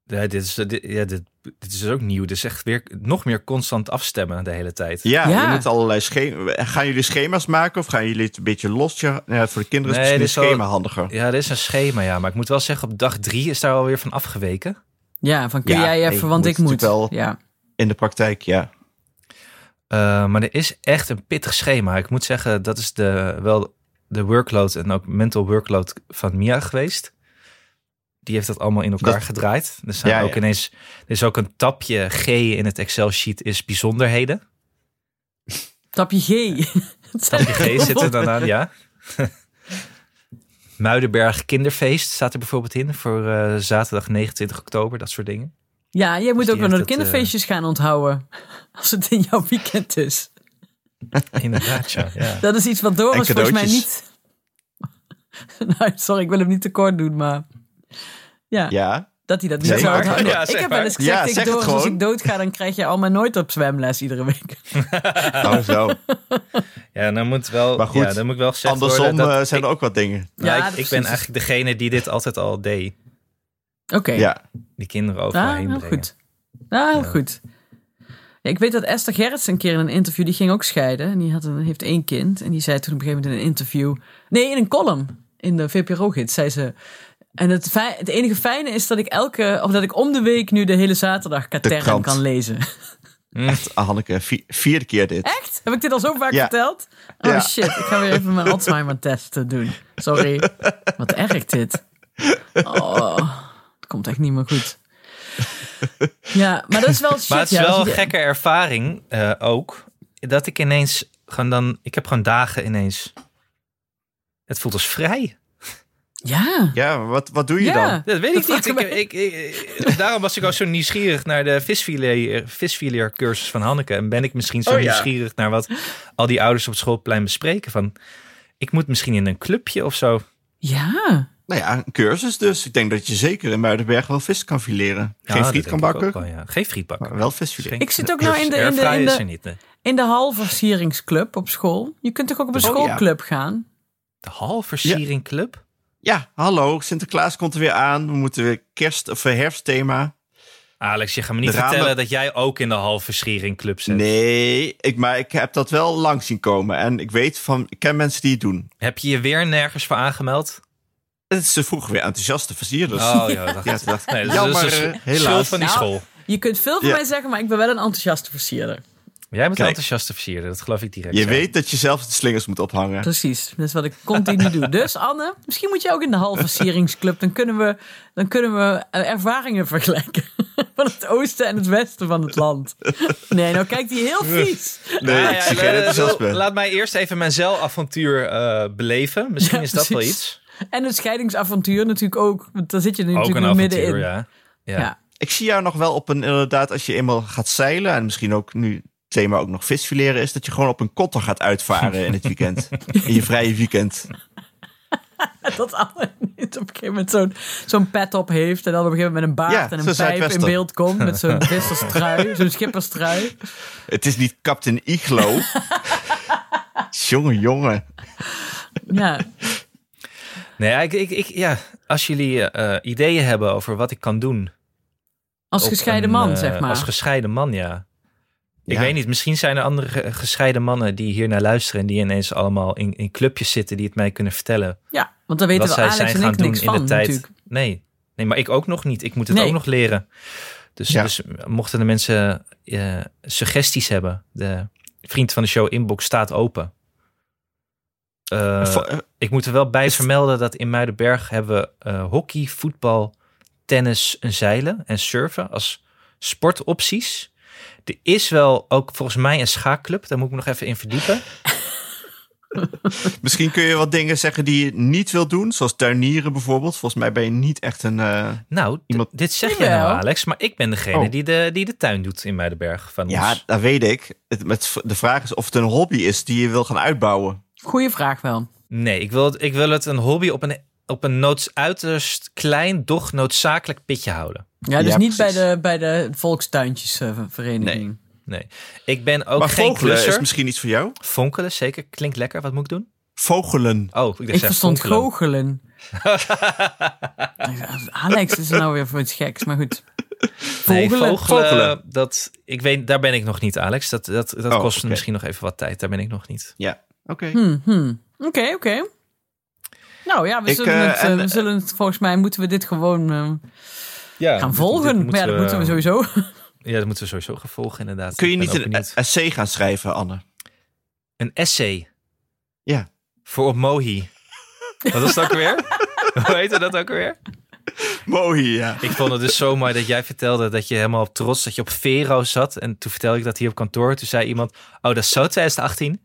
Ja, dit, is, dit, ja, dit, dit is dus ook nieuw. Dit is echt weer nog meer constant afstemmen de hele tijd. Ja, Ja. je moet allerlei schema's... Gaan jullie schema's maken of gaan jullie het een beetje los? Ja, ja, voor de kinderen is Nee, het dit misschien is een wel- schema handiger. Ja, er is een schema, ja. Maar ik moet wel zeggen, op dag drie is daar alweer van afgeweken. ja van kun Ja, jij nee, even, want moet ik moet. natuurlijk wel. Ja. In de praktijk, ja. Eh, maar er is echt een pittig schema. Ik moet zeggen, dat is de, wel de workload en ook mental workload van Mia geweest. Die heeft dat allemaal in elkaar Dat- gedraaid. Er zijn Ja, ook ja. ineens, er is ook een tapje G in het Excel-sheet is bijzonderheden. Tapje G. *laughs* Het zijn Tapje G zit er dan aan, ja. *laughs* Muidenberg Kinderfeest staat er bijvoorbeeld in voor eh, zaterdag 29 oktober, dat soort dingen. Ja, jij moet die ook wel naar de heeft het, eh, kinderfeestjes gaan onthouden. *laughs* Als het in jouw weekend is. Inderdaad, ja. ja. Dat is iets wat Doris En volgens mij cadeautjes. niet... nou, sorry, ik wil hem niet *laughs* tekort doen, maar... Ja, *laughs* Ja, dat hij dat niet Zeg zou maar. onthouden. Ja, ik zeg heb maar. wel eens gezegd Ja, tegen zeg het Doris, als gewoon. ik doodga, dan krijg je allemaal nooit op zwemles iedere week. *laughs* Oh, *laughs* nou zo. Ja, dan moet wel, Maar goed, ja, dan moet ik wel gezegd Andersom worden dat eh, zijn er ook wat dingen. Nou, Ja, ik- dat ik, precies. ben eigenlijk degene die dit altijd al deed. Oké, Ja, Die kinderen Ah, overal heen heel brengen. goed. Ah, heel goed. Ja, ik weet dat Esther Gerrits een keer in een interview, die ging ook scheiden. En die had een, heeft één kind. En die zei toen op een gegeven moment in een interview... Nee, in een column in de VPRO-gids, zei ze... En het, fij- het enige fijne is dat ik elke, of dat ik om de week nu de hele zaterdag Katern krant. kan lezen. Ah, Hanneke, vi- vierde keer dit. Echt? Heb ik dit al zo vaak Ja. verteld? Oh Ja. shit, ik ga weer even mijn Alzheimer-test eh, doen. Sorry. Wat erg dit. Oh, het komt echt niet meer goed. Ja, maar dat is wel shit. Maar het is ja, dus wel als een je- gekke ervaring eh, ook. Dat ik ineens gewoon dan... Ik heb gewoon dagen ineens... Het voelt als vrij. Ja. Ja, maar wat, wat doe je Ja. dan? Dat weet Dat ik niet. vraag Ik, ik me- ik, ik- daarom was ik ook zo nieuwsgierig naar de visfilet- visfilet cursus van Hanneke. En ben ik misschien zo Oh ja. nieuwsgierig naar wat al die ouders op het schoolplein bespreken. Van, ik moet misschien in een clubje of zo. Ja. Nou ja, een cursus dus. Ik denk dat je zeker in Muidenberg wel vis kan fileren. Ja, Geen dat friet denk kan ik ook bakken, wel, ja. Geen friet bakken. Oh, maar wel vis fileren. Ik zit ook nou in de, in de, Airfryer in is er de, niet. nee. in de halversieringsclub op school. Je kunt toch ook op een Oh, ja. schoolclub gaan? De halversiering club? Ja, hallo, Sinterklaas komt er weer aan. We moeten weer kerst- of eh, herfstthema. Alex, je gaat me niet De ramen- vertellen dat jij ook in de halve schering club zit. Nee, ik, maar ik heb dat wel lang zien komen. En ik weet van, ik ken mensen die het doen. Heb je je weer nergens voor *laughs* aangemeld? Het is ze vroegen weer enthousiaste versierders. Oh ja, dat *laughs* Ja, toen dacht ik, Nee, dat jammer, is eh, een schuld helaas. van die Nou, school. Je kunt veel van Ja. mij zeggen, maar ik ben wel een enthousiaste versierder. Jij bent Kijk. enthousiast te versieren, dat geloof ik direct. Je ja. weet dat je zelf de slingers moet ophangen. Precies, dat is wat ik continu doe. Dus Anne, misschien moet je ook in de halversieringsclub. Dan kunnen we, dan kunnen we eh, ervaringen vergelijken. *laughs* Van het oosten en het westen van het land. Nee, nou kijkt die heel vies. Nee, Ja, ja, eh, ik zie ik geen wil- enthousiasme. Laat mij eerst even mijn zeilavontuur eh, *laughs* beleven. Misschien Ja, is dat wel precies. iets. En het scheidingsavontuur natuurlijk ook. Want daar zit je nu Ook een natuurlijk nu middenin. avontuur, ja. ja. Ja. Ik zie jou nog wel op een, inderdaad, als je eenmaal gaat zeilen... en misschien ook nu het thema ook nog visfileren is... dat je gewoon op een kotter gaat uitvaren in het *laughs* weekend. In je vrije *laughs* weekend. Dat Anne niet op een gegeven moment zo'n zo'n pet op heeft. En dan op een gegeven moment met een Ja, baard en zo'n een pijp in Zuidwester. beeld komt. Met *laughs* zo'n visserstrui, zo'n schipperstrui. Het is niet Captain *laughs* Iglo. jongen, jongen. Ja, Nee, ik, ik, ik, ja. Als jullie eh, ideeën hebben over wat ik kan doen. als op gescheiden een, man, eh, zeg maar. Als gescheiden man, ja. Ik Ja. weet niet, misschien zijn er andere ge- gescheiden mannen die hier naar luisteren. en die ineens allemaal in, in clubjes zitten die het mij kunnen vertellen. Ja, want dan weten wat we zij Alex zijn en gaan ik doen niks in de van tijd. natuurlijk. Nee. nee, maar ik ook nog niet. Ik moet het Nee. ook nog leren. Dus, Ja. dus mochten de mensen eh, suggesties hebben, de vriend van de show inbox staat open. Eh, Va- eh, ik moet er wel bij vermelden dat in Muidenberg hebben we eh, hockey, voetbal, tennis, en zeilen en surfen als sportopties. Er is wel ook volgens mij een schaakclub. Daar moet ik me nog even in verdiepen. misschien kun je wat dingen zeggen die je niet wil doen. Zoals tuinieren bijvoorbeeld. Volgens mij ben je niet echt een... eh, Nou, d- Iemand- dit zeg je nou, Jawel. Alex, maar ik ben degene Oh. die, de, die de tuin doet in Muidenberg van Ja, ons. dat weet ik. Het, met, de vraag is of het een hobby is die je wil gaan uitbouwen. Goeie vraag wel. Nee, ik wil, het- ik wil het een hobby op een, op een noods, uiterst klein, doch noodzakelijk pitje houden. Ja, dus Ja, niet bij precies. de, bij de eh, volkstuintjesvereniging. Nee, ik ben ook maar geen vogelen is klusser. misschien iets voor jou. Vonkelen, zeker. Klinkt lekker. Wat moet ik doen? Vogelen. Oh, ik, dacht, ik zei verstond vonkelen. *laughs* goochelen. Ik dacht, Alex is er nou weer voor iets geks, maar goed. Vogelen. Nee, vogelen, Vogelen. Dat, ik weet, daar ben ik nog niet, Alex. Dat, dat, dat Oh, kost oké. misschien nog even wat tijd. Daar ben ik nog niet. Ja, oké. Hmm, hmm. Oké, oké. Nou ja, we, Ik, zullen eh, het, eh, en- we zullen het, volgens mij moeten we dit gewoon eh, Ja, gaan volgen. maar ja, dat moeten we sowieso. *laughs* Ja, dat moeten we sowieso gaan volgen, inderdaad. Kun je Ik ben niet ook een e- benieuwd. essay gaan schrijven, Anne? Een essay. Ja. Voor op Mohi. Wat was dat ook *laughs* weer? Hoe heette dat ook weer? Mooi, ja. Ik vond het dus zo mooi dat jij vertelde dat je helemaal trots dat je op Vero zat. En toen vertelde ik dat hier op kantoor. Toen zei iemand, oh dat is zo 2018.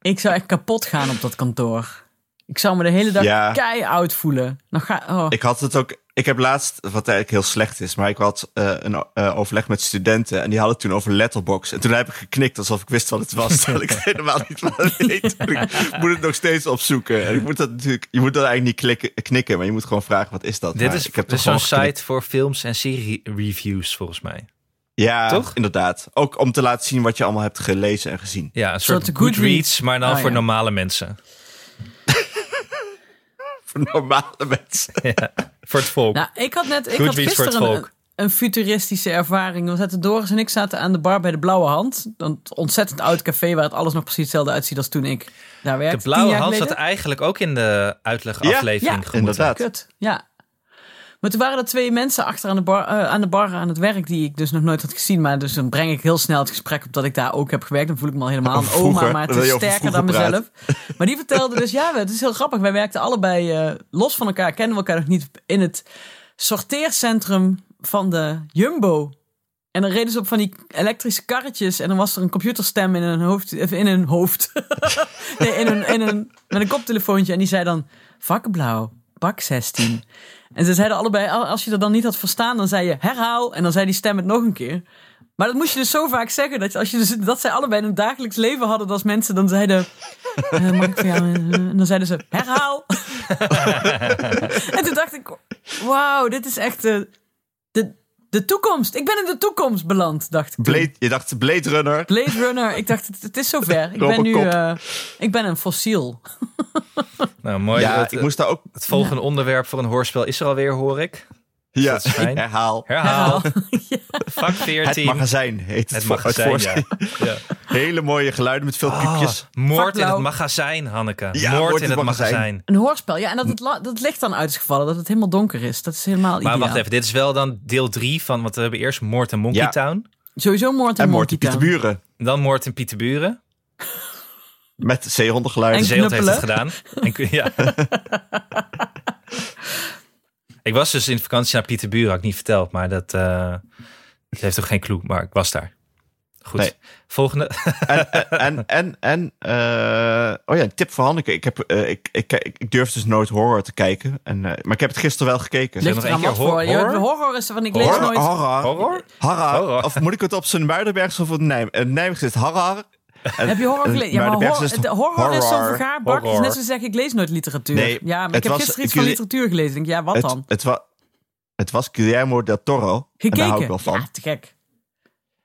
Ik zou echt kapot gaan op dat kantoor. Ik zou me de hele dag Ja. keioud voelen. Dan ga, oh. Ik had het ook. Ik heb laatst, wat eigenlijk heel slecht is, maar ik had eh, een eh, overleg met studenten en die hadden het toen over letterbox. En toen heb ik geknikt alsof ik wist wat het was, terwijl *laughs* ik het helemaal niet wat weet. En Ik moet het nog steeds opzoeken. En ik moet dat natuurlijk, je moet dat eigenlijk niet klikken, knikken, maar je moet gewoon vragen wat is dat. Dit Maar is, ik heb dit is toch zo'n gewoon geknikt. site voor films en serie reviews volgens mij. Ja, toch? inderdaad. Ook om te laten zien wat je allemaal hebt gelezen en gezien. *laughs* Ja, een Zo'n soort Goodreads. Goodreads, maar dan Oh, voor ja. normale mensen. Voor normale mensen. Voor het volk. Nou, ik had net ik Goed had wiens voor het gisteren een, volk. een futuristische ervaring. We zaten Doris en ik zaten aan de bar bij de Blauwe Hand. Een ontzettend oud café waar het alles nog precies hetzelfde uitziet als toen ik daar werkte. de blauwe tien jaar hand zat geleden. eigenlijk ook in de Ja, uitlegaflevering. gemoeten. inderdaad. Kut, ja. Maar toen waren er twee mensen achter aan de, bar, eh, aan de bar aan het werk die ik dus nog nooit had gezien. Maar dus dan breng ik heel snel het gesprek op dat ik daar ook heb gewerkt. Dan voel ik me al helemaal een Vroeger, oma, maar het wil is je over sterker dan vroeger mezelf. *laughs* Maar die vertelde dus, ja, het is heel grappig. Wij werkten allebei eh, los van elkaar, kennen we elkaar nog niet, in het sorteercentrum van de Jumbo. En dan reden ze op van die elektrische karretjes. En dan was er een computerstem in hun hoofd. of In hun hoofd. *laughs* nee, in hun, in hun, met een koptelefoontje. En die zei dan: Vakblauw, bak 16. En ze zeiden allebei: al- Als je dat dan niet had verstaan, dan zei je herhaal. En dan zei die stem het nog een keer. Maar dat moest je dus zo vaak zeggen. Dat, je- als je dus, dat zij allebei in hun dagelijks leven hadden. Dat als mensen dan zeiden: eh, Mag ik voor jou? eh, En dan zeiden ze: herhaal. *laughs* en toen dacht ik: Wauw, dit is echt. eh, de, de toekomst. Ik ben in de toekomst beland, dacht ik. toen. Blade, je dacht Blade Runner. Blade Runner. Ik dacht, het, het is zover. Ik ben Robocop. nu eh, ik ben een fossiel. Nou, mooi. Ja, het, ik moest daar ook eh, het volgende onderwerp voor een hoorspel is er alweer, hoor ik. Ja, dat is fijn. *laughs* herhaal. Herhaal. Fuck Het 14. magazijn heet het. Het voor- magazijn, voor- ja. ja. Ah. Hele mooie geluiden met veel piepjes. Moord in Vakblauw. het magazijn, Hanneke. Ja, moord in het magazijn. Een hoorspel. Ja, en dat het la- dat licht dan uit is gevallen. Dat het helemaal donker is. Dat is helemaal Maar ideaal. wacht even, dit is wel dan deel 3 van, want we hebben eerst Moord in Monkey Ja. Town. Sowieso moord en, En moord Moortje Pieterburen. Dan Moord in Pieterburen. Met zeehondengeluiden. En- Zeeland heeft het knuppelen. gedaan. En, kun- *laughs* ja. ik was dus in vakantie naar Pieterburen, had ik niet verteld, maar dat, eh dat heeft toch geen clue, maar ik was daar. Goed. Nee. Volgende. En, en, en, en, eh, oh ja, een tip van Hanneke. Ik, heb, eh, ik, ik, ik, ik durf dus nooit horror te kijken. En, eh, maar ik heb het gisteren wel gekeken. Ligt Ligt- nog eraan één wat keer voor. horror? Ja, de horror is van ik lees horror, Oh, nooit. horror, Horror? Harra. Horror. Of moet ik het op zijn Muidenbergs of op het Nijm, eh, Nijmegen? Is het harrar? En- Heb je horror en gelezen? Ja, maar Muidenbergs horror, het de horror, is zo'n horrar. vergaarbak. Het is Horror. net zo zeggen, ik lees nooit literatuur. Nee, ja, maar ik het heb was- gisteren ik iets van le- literatuur gelezen. Ik denk, ja, wat Het, dan? het, wa- het was Guillermo del Toro. En daar Gekeken. hou ik wel van. Ja, te gek.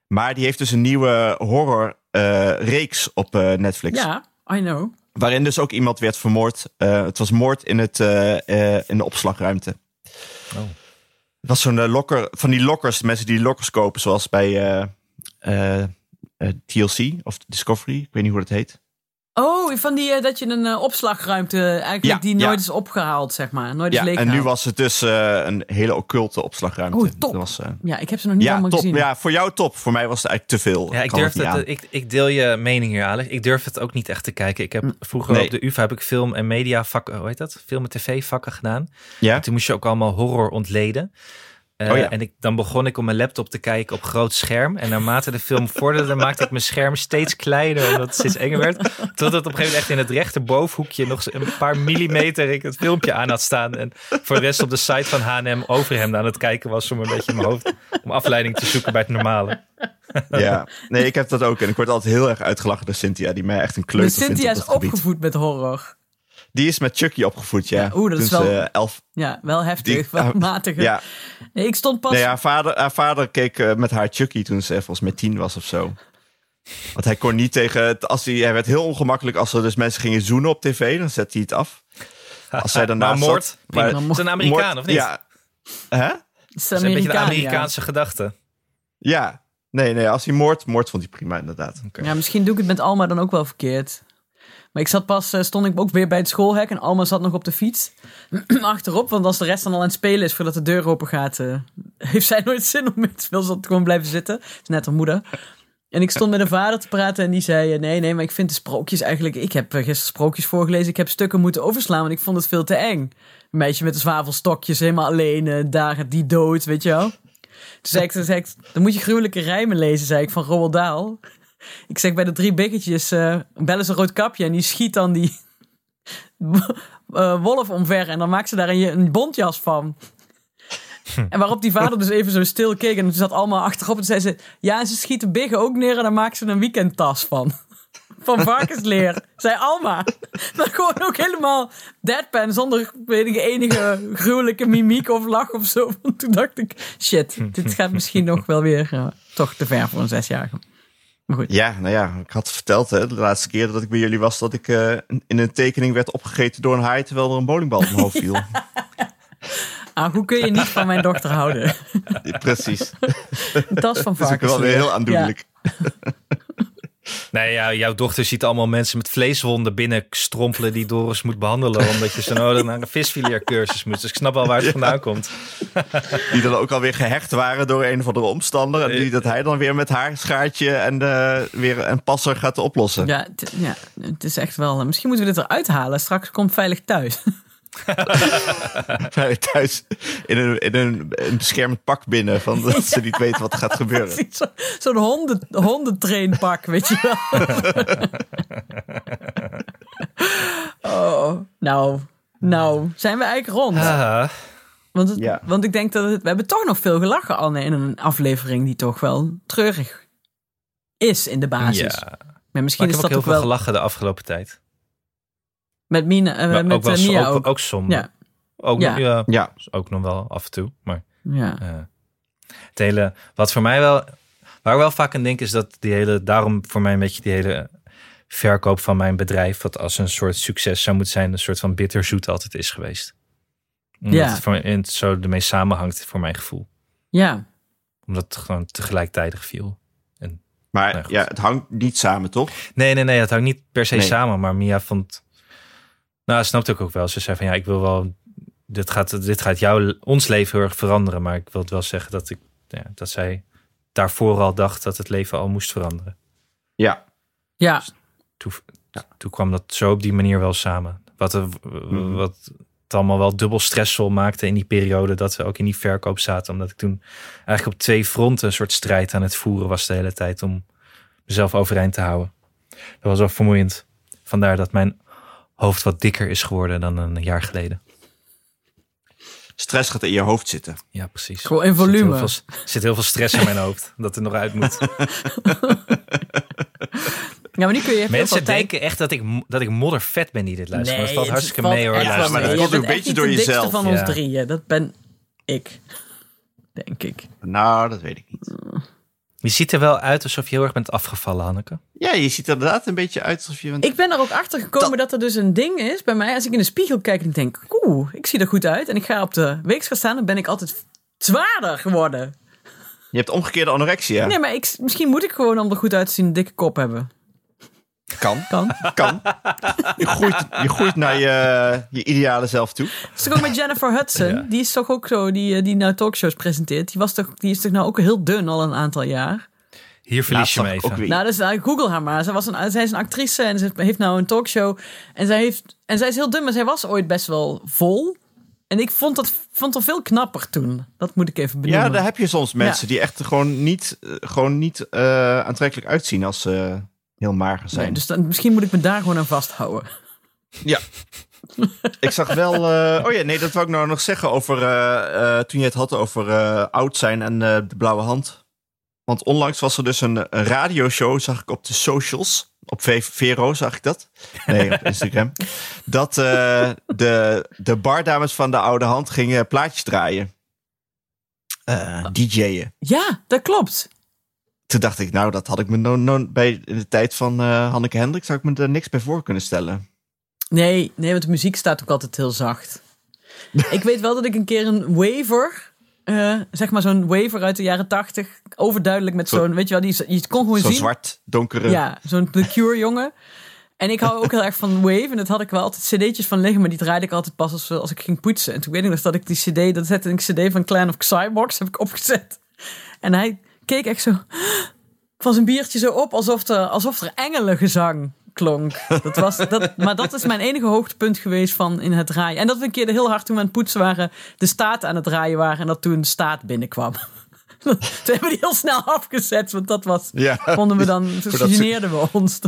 Maar die heeft dus een nieuwe horror eh, reeks op eh, Netflix. Ja, I know. Waarin dus ook iemand werd vermoord. Eh, het was moord in, het, eh, eh, in de opslagruimte. Oh. Het was zo'n eh, lokker, van die lokkers, mensen die lokkers kopen, zoals bij eh, eh, eh, TLC of Discovery. Ik weet niet hoe dat heet. Oh, van die eh, dat je een eh, opslagruimte eigenlijk Ja, die ja. nooit is opgehaald, zeg maar. Nooit is Ja, en leeggehaald. nu was het dus eh, een hele occulte opslagruimte. Oeh, top. Dat was, eh, Ja, ik heb ze nog niet ja, allemaal top. gezien. Ja, voor jou top. Voor mij was het eigenlijk te veel. *laughs* Ja, ik, kan durf het niet het, aan. ik, ik deel je mening hier, Alex. Ik durf het ook niet echt te kijken. Ik heb vroeger Mm. Nee. op de UvA heb ik film en media vakken, hoe heet dat? Film en tv vakken gedaan. Ja? Toen moest je ook allemaal horror ontleden. Eh, Oh ja. En ik, dan begon ik op mijn laptop te kijken op groot scherm. En naarmate de film vorderde, *laughs* maakte ik mijn scherm steeds kleiner. Omdat het steeds enger werd. Totdat op een gegeven moment echt in het rechterbovenhoekje nog een paar millimeter ik het filmpje aan had staan. En voor de rest op de site van H&M over hem aan het kijken was. Om een beetje in mijn hoofd, om afleiding te zoeken bij het normale. ja. Nee, ik heb dat ook. En ik word altijd heel erg uitgelachen door Cynthia, die mij echt een Dus kleuter vindt Cynthia op is dat gebied. opgevoed met horror. Die is met Chucky opgevoed, ja. Ja, oeh, dat Toen is wel- ze, eh, elf... Ja, wel heftig, Die- wel matige. *laughs* Ja, Nou Nee, ik stond pas... nee, haar, vader, haar vader keek eh, met haar Chucky toen ze eh, volgens mij tien was of zo. Want hij kon niet tegen... het- Als hij, hij werd heel ongemakkelijk als er dus mensen gingen zoenen op tv. Dan zette hij het af. *laughs* Als zij daarna Maar moord, prima, het is een Amerikaan of niet? Ja. Hè? Het is Dat is een beetje de Amerikaan, ja. Amerikaanse gedachte. Ja. Nee, nee, als hij moord... Moord vond hij prima, inderdaad. Ja, misschien doe ik het met Alma dan ook wel verkeerd. Maar ik zat pas, eh, stond ik ook weer bij het schoolhek en Alma zat nog op de fiets. *clears throat* Achterop, want als de rest dan al aan het spelen is voordat de deur open gaat, eh, *laughs* heeft zij nooit zin om mee te spelen. Ze had gewoon blijven zitten. Het is net haar moeder. En ik stond met een vader te praten en die zei: eh, Nee, nee, maar ik vind de sprookjes eigenlijk. Ik heb eh, gisteren sprookjes voorgelezen. Ik heb stukken moeten overslaan, want ik vond het veel te eng. Een meisje met de zwavelstokjes, helemaal alleen, eh, daar gaat die dood, weet je wel. Toen zei ik, toen zei ik: Dan moet je gruwelijke rijmen lezen, zei ik van Roald Dahl. Ik zeg bij de drie biggetjes, eh bellen ze een rood kapje en die schiet dan die *laughs* eh, wolf omver. En dan maakt ze daar een, je- een bontjas van. En waarop die vader dus even zo stil keek en toen zat allemaal achterop en zei ze... Ja, en ze schieten biggen ook neer en daar maken ze een weekendtas van. *laughs* Van varkensleer, zei Alma. Maar gewoon ook helemaal deadpan, zonder weet ik, enige gruwelijke mimiek of lach of zo. Want toen dacht ik, shit, dit gaat misschien nog wel weer eh, toch te ver voor een zesjarige. Maar goed. Ja, nou ja, ik had verteld hè, de laatste keer dat ik bij jullie was... dat ik eh, in een tekening werd opgegeten door een haai... terwijl er een bowlingbal op mijn hoofd *laughs* viel. Ah, hoe kun je niet van mijn dochter *laughs* houden? Ja, Precies. Een tas van Dat is ook wel weer varkensleer. heel aandoenlijk. Nee, jou- jouw dochter ziet allemaal mensen met vleeswonden binnen strompelen die Doris moet behandelen. Omdat je zo nodig naar een visfileercursus moet. Dus ik snap wel waar het vandaan komt. Die dan ook alweer gehecht waren door een of andere omstander. En die dat hij dan weer met haar schaartje en eh, weer een passer gaat oplossen. *laughs* Ja, t- ja, het is echt wel... eh, Misschien moeten we dit eruit halen. Straks komt veilig thuis. *laughs* Hij Thuis in een, in een, een beschermend pak binnen. *laughs* Van dat ze niet weten wat er gaat gebeuren. Precies, zo- Zo'n honden, hondentrainpak, weet je *laughs* wel. oh, nou, nou, zijn we eigenlijk rond. Ah, Want, het- Ja. want ik denk dat het, we hebben toch nog veel gelachen, Anne, in een aflevering die toch wel treurig is in de basis. ja. Maar Maar misschien is ik heb ook dat heel ook veel wel gelachen de afgelopen tijd. met Mina, eh, Maar met ook wel eh, Mia ook, ook. ook, som. Ja. Ook, Ja. ja. Ja, ook nog wel af en toe. Maar Ja. eh, het hele, wat voor mij wel, waar ik wel vaak aan denk, is dat die hele, daarom voor mij een beetje die hele verkoop van mijn bedrijf, wat als een soort succes zou moeten zijn, een soort van bitterzoet altijd is geweest. Omdat Ja. het, voor, en het zo ermee samenhangt voor mijn gevoel. Ja. Omdat het gewoon tegelijkertijd viel. Maar Nee, goed. ja, het hangt niet samen, toch? Nee, nee, nee. Het hangt niet per se Nee. samen. Maar Mia vond... Nou, dat snapte ik ook wel. Ze zei van ja, ik wil wel... Dit gaat, dit gaat jouw, ons leven heel erg veranderen. Maar ik wil het wel zeggen dat, ik, ja, dat zij daarvoor al dacht dat het leven al moest veranderen. Ja. Ja, Dus Toen, toen kwam dat zo op die manier wel samen. Wat, er- wat het allemaal wel dubbel stressvol maakte in die periode dat we ook in die verkoop zaten. Omdat ik toen eigenlijk op twee fronten een soort strijd aan het voeren was de hele tijd om mezelf overeind te houden. Dat was wel vermoeiend. Vandaar dat mijn hoofd wat dikker is geworden dan een jaar geleden. Stress gaat in je hoofd zitten. Ja, precies. Gewoon in Er zit heel volume. veel- Er zit, heel veel stress in mijn hoofd dat er nog uit *laughs* moet. ja maar nu kun je heel veel Mensen tijd denken echt dat ik, mo- dat ik moddervet ben die dit luistert. maar het valt het hartstikke valt mee hoor. echt wel luisteraars. maar dat mee. Jij komt ook bent een echt beetje niet door de dikste jezelf. van ons Ja. drieën. Dat ben ik. Denk ik. Nou, dat weet ik niet. Je ziet er wel uit alsof je heel erg bent afgevallen, Hanneke. Ja, je ziet er inderdaad een beetje uit alsof je... Ik ben er ook achter gekomen dat... er dus een ding is bij mij. Als ik in de spiegel kijk en denk, oeh, ik zie er goed uit. En ik ga op de weegschaal staan, dan ben ik altijd zwaarder geworden. Je hebt omgekeerde anorexia. Nee, maar ik, misschien moet ik gewoon om er goed uit te zien een dikke kop hebben. Kan. Kan. Kan. Je groeit, je groeit naar je, je ideale zelf toe. Het is toch ook met Jennifer Hudson. Die is toch ook zo, die, eh, die nou talkshows presenteert. Die, was toch, die is toch nou ook heel dun al een aantal jaar. Hier verlies Laatst je me zag ik even. ook weer- Nou, dus, nou, google haar maar. Zij, was een, zij is een actrice en ze heeft nou een talkshow. En zij, heeft, en zij is heel dun, maar zij was ooit best wel vol. En ik vond dat vond haar veel knapper toen. Dat moet ik even benoemen. Ja, daar heb je soms mensen die echt gewoon niet, eh, gewoon niet eh, aantrekkelijk uitzien als ze eh, heel mager zijn. Nee, dus dan, misschien moet ik me daar gewoon aan vasthouden. Ja. ik zag wel. eh, oh ja, nee, dat wou ik nou nog zeggen over. eh, eh, toen je het had over eh, oud zijn en eh, de blauwe hand. Want onlangs was er dus een, een radioshow, zag ik op de socials. Op V- Vero zag ik dat. Nee, op Instagram. dat eh, de, de bardames van de oude hand gingen plaatjes draaien. Eh DJ'en. Ja, dat klopt. Toen dacht ik, nou, dat had ik me no no- bij de tijd van eh, Hanneke Hendrik zou ik me daar niks bij voor kunnen stellen. Nee, nee, want de muziek staat ook altijd heel *laughs* zacht. ik weet wel dat ik een keer een waver, eh, zeg maar zo'n waver uit de jaren tachtig, overduidelijk met Zo- zo'n, weet je wel, die, je kon gewoon Zo'n zien. zwart, donkere. Ja, zo'n The Cure jongen. En ik hou ook heel erg van Wave. En dat had ik wel altijd cd'tjes van liggen. Maar die draaide ik altijd pas als, als ik ging poetsen. En toen weet ik nog dat ik die cd... Dat zette ik cd van Clan of Cyborgs heb ik opgezet. En hij keek echt zo... Van zijn biertje zo op. Alsof er, alsof er engelengezang klonk. Dat was, dat, maar dat is mijn enige hoogtepunt geweest van in het draaien. En dat we een keer heel hard toen we aan het poetsen waren... De staat aan het draaien waren. En dat toen de staat binnenkwam. *laughs* Toen hebben we die heel snel afgezet. Want dat was... Ja. Vonden we dan... Toen Voordat ze- geneerden we ons.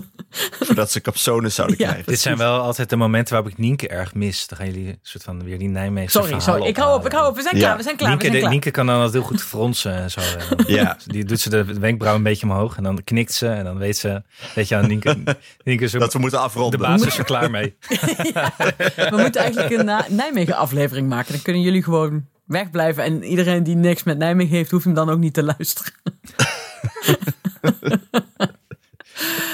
Voordat ze capsones zouden *laughs* Ja. krijgen. Dit zijn wel altijd de momenten waarop ik Nienke erg mis. Dan gaan jullie een soort van weer die Nijmeegse Sorry, verhalen sorry. Ik hou op, ik hou op. ophalen. We zijn Ja. klaar, we zijn klaar, we zijn Nienke, de- klaar. Nienke kan dan altijd heel goed fronsen en zo. *laughs* En dan- Ja. Die doet ze de wenkbrauw een beetje omhoog en dan knikt ze. En dan weet ze, weet je aan *laughs* Nienke, Nienke is ook- Dat we moeten de afronden. baas is er klaar mee. We moeten eigenlijk een Na- Nijmegen aflevering maken. Dan kunnen jullie gewoon wegblijven. En iedereen die niks met Nijmegen heeft, hoeft hem dan ook niet te luisteren. *laughs*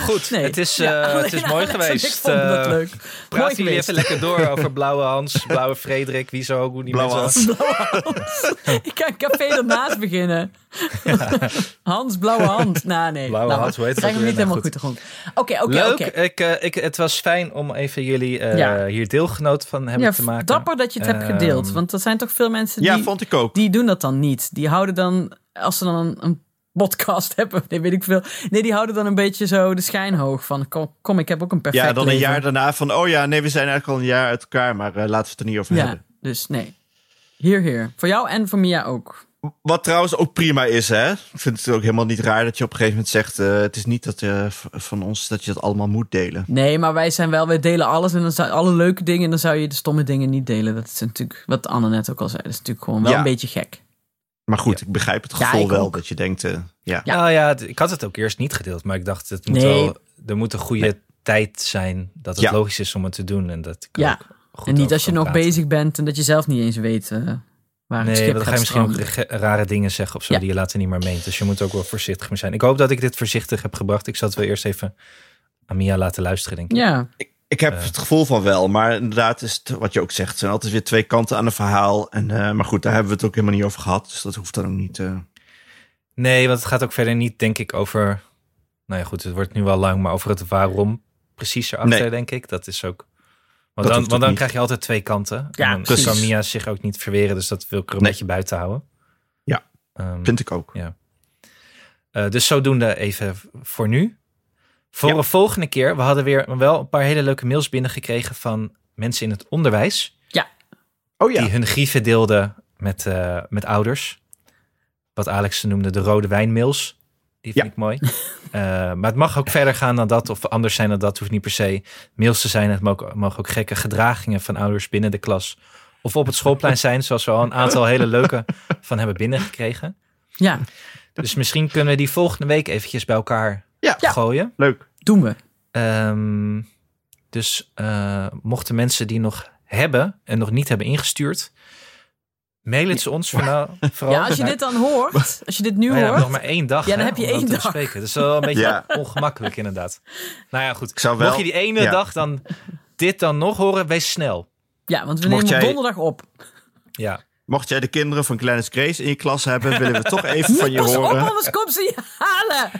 Goed, Nee. het is, *laughs* eh, Ja, het is alleen mooi Alex en geweest. Ik vond dat Eh, leuk. Mooi Praten jullie geweest. even *laughs* lekker door over Blauwe Hans, Blauwe Frederik, wie zo, hoe die Blauwe mensen- Hans. Ik kan een café ernaast beginnen. *laughs* Hans, blauwe hand. Nou, nee. Blauwe nou, Hans, hoe heet krijg hem het niet helemaal ook weer? Nou, goed te grond. Oké, oké, Leuk, oké. ik, eh, ik, het was fijn om even jullie eh, Ja. hier deelgenoot van hebben Ja, te maken. dapper dat je het hebt Ehm, gedeeld. Want er zijn toch veel mensen die... ja, vond ik ook. die doen dat dan niet. Die houden dan, als ze dan een, een podcast *laughs* hebben, nee, weet ik veel. Nee, die houden dan een beetje zo de schijn hoog van, kom, kom ik heb ook een perfect Ja, dan een leven. jaar daarna van, oh ja, nee, we zijn eigenlijk al een jaar uit elkaar, maar eh, laten we het er niet over Ja, hebben. dus nee. Hier, hier. Voor jou en voor Mia ook. Wat trouwens ook prima is, hè. Ik vind het ook helemaal niet raar dat je op een gegeven moment zegt, eh, het is niet dat, eh, v- van ons dat je dat allemaal moet delen. Nee, maar wij zijn wel, wij delen alles en dan zou, alle leuke dingen en dan zou je de stomme dingen niet delen. Dat is natuurlijk, wat Anne net ook al zei, dat is natuurlijk gewoon wel Ja. een beetje gek. Maar goed, ik begrijp het Ja, gevoel ik wel ook. dat je denkt, eh, ja. Ja. Nou ja, d- ik had het ook eerst niet gedeeld, maar ik dacht, het moet Nee. wel, er moet een goede tijd zijn dat het Ja. logisch is om het te doen. En, dat kan Ja. ook goed en niet over als je kan nog praten. bezig bent en dat je zelf niet eens weet eh, waar het Nee, schip want dan ga gaat je misschien ook stranden. ge- rare dingen zeggen of zo Ja. die je later niet meer meent. Dus je moet ook wel voorzichtig mee zijn. Ik hoop dat ik dit voorzichtig heb gebracht. Ik zal het wel eerst even aan Mia laten luisteren, denk ik. Ja, Ik heb het gevoel van wel, maar inderdaad is het, wat je ook zegt, zijn altijd weer twee kanten aan een verhaal. En, eh, maar goed, daar hebben we het ook helemaal niet over gehad, dus dat hoeft dan ook niet. eh. Nee, want het gaat ook verder niet, denk ik, over... Nou ja, goed, het wordt nu wel lang, maar over het waarom precies erachter, Nee. denk ik. Dat is ook... Dat Want dan, hoeft want ook dan niet. krijg je altijd twee kanten. Ja, en dan precies. kan Mia zich ook niet verweren, dus dat wil ik er een Nee. beetje buiten houden. Ja. Ehm, Vind ik ook. eh, dus zodoende even voor nu. Voor Ja. een volgende keer, we hadden weer wel een paar hele leuke mails binnengekregen van mensen in het onderwijs. Oh ja, die hun grieven deelden met, eh, met ouders. Wat Alex noemde de rode wijnmails. Die vind Ja. ik mooi. Eh, maar het mag *laughs* ook verder gaan dan dat of anders zijn dan dat. Hoeft niet per se mails te zijn. Het mogen, mogen ook gekke gedragingen van ouders binnen de klas of op het schoolplein zijn. Zoals we al een aantal hele *laughs* leuke van hebben binnengekregen. Ja, Dus misschien kunnen we die volgende week eventjes bij elkaar Ja. gooien. leuk. doen we. Ehm, dus eh, mochten mensen die nog hebben en nog niet hebben ingestuurd, mail het ze ons vooral. *laughs* vooral Ja, als je naar- dit dan hoort, als je dit nu Nou ja, nog hoort. maar één dag. Ja, dan hè, heb je om dat één te dag. bespreken. Dat is wel een *laughs* beetje Ja. ongemakkelijk inderdaad. Nou ja, goed. Ik zou wel- Mocht je die ene ja. dag dan dit dan nog horen, wees snel. Ja, want we Mocht nemen jij- donderdag op. Ja. Mocht jij de kinderen van Glennis Grace in je klas hebben, willen we toch even van je Pas op, horen. anders komt ze je halen.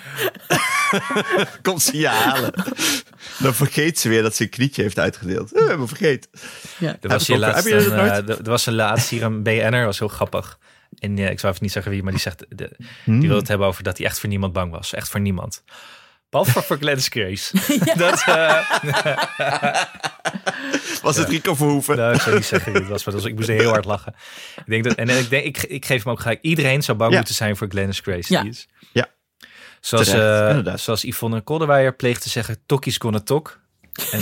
Kom ze je halen. Dan vergeet ze weer dat ze een knietje heeft uitgedeeld. Eh, We hebben vergeten. Er Heb was, ik hier ook- laatst heb je een, dat nooit? eh, er- er was een laatst hier een BN'er, was heel grappig. En eh, ik zou even niet zeggen wie, maar die zegt, de- Hmm. die wil het hebben over dat hij echt voor niemand bang was. Echt voor niemand. Behalve voor- *laughs* voor Glennis Grace. Dat, eh, Was het *laughs* Rico Verhoeven? nou, ik zou niet zeggen wie het was, maar dat was, ik moest heel hard lachen. Ik denk dat, en ik, denk, ik, ik geef hem ook gelijk. Iedereen zou bang Ja. moeten zijn voor Glennis Grace. Ja. Die is- Ja. Zoals, Terecht, eh, inderdaad. zoals Yvonne Kolderweijer pleegt te zeggen, tokkies konnen tok. En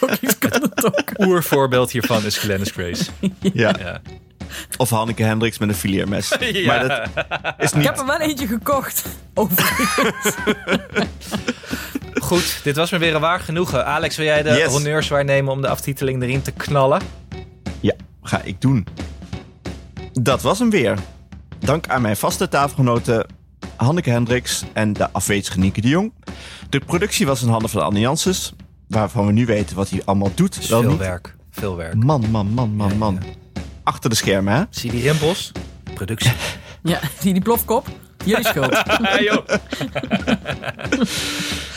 Tokkies kan het ook. *laughs* oervoorbeeld hiervan is Glennis Grace. Ja. Ja. Of Hanneke Hendricks met een fileermes. *laughs* Ja. Maar dat is Ik niet... heb er wel eentje gekocht. Overigens. Goed, dit was me weer een waar genoegen. Alex, wil jij de Yes. honneurs waarnemen om de aftiteling erin te knallen? Ja, ga ik doen. Dat was hem weer. Dank aan mijn vaste tafelgenoten Hanneke Hendricks en de afwezige Nieke de Jong. De productie was in handen van Anne Janssens, waarvan we nu weten wat hij allemaal doet. Dus wel veel niet. werk, veel werk. Man, man, man, man, man. Achter de schermen, hè? Zie je die rimpels? Productie. Ja, die, die plofkop. Jullie schuld.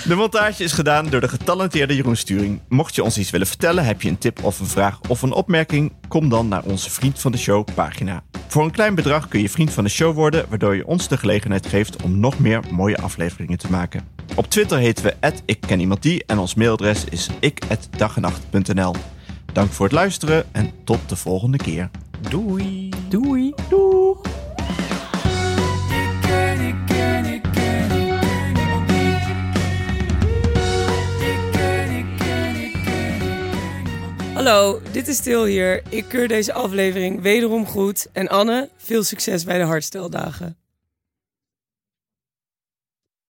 De montage is gedaan door de getalenteerde Jeroen Sturing. Mocht je ons iets willen vertellen, heb je een tip of een vraag of een opmerking, kom dan naar onze Vriend van de Show pagina. Voor een klein bedrag kun je Vriend van de Show worden, waardoor je ons de gelegenheid geeft om nog meer mooie afleveringen te maken. Op Twitter heten we ik ken iemand die en ons mailadres is ik@dagenacht.nl. Dank voor het luisteren en tot de volgende keer. Doei. Doei. Hallo, dit is Til hier. Ik keur deze aflevering wederom goed. En Anne, veel succes bij de hartsteldagen.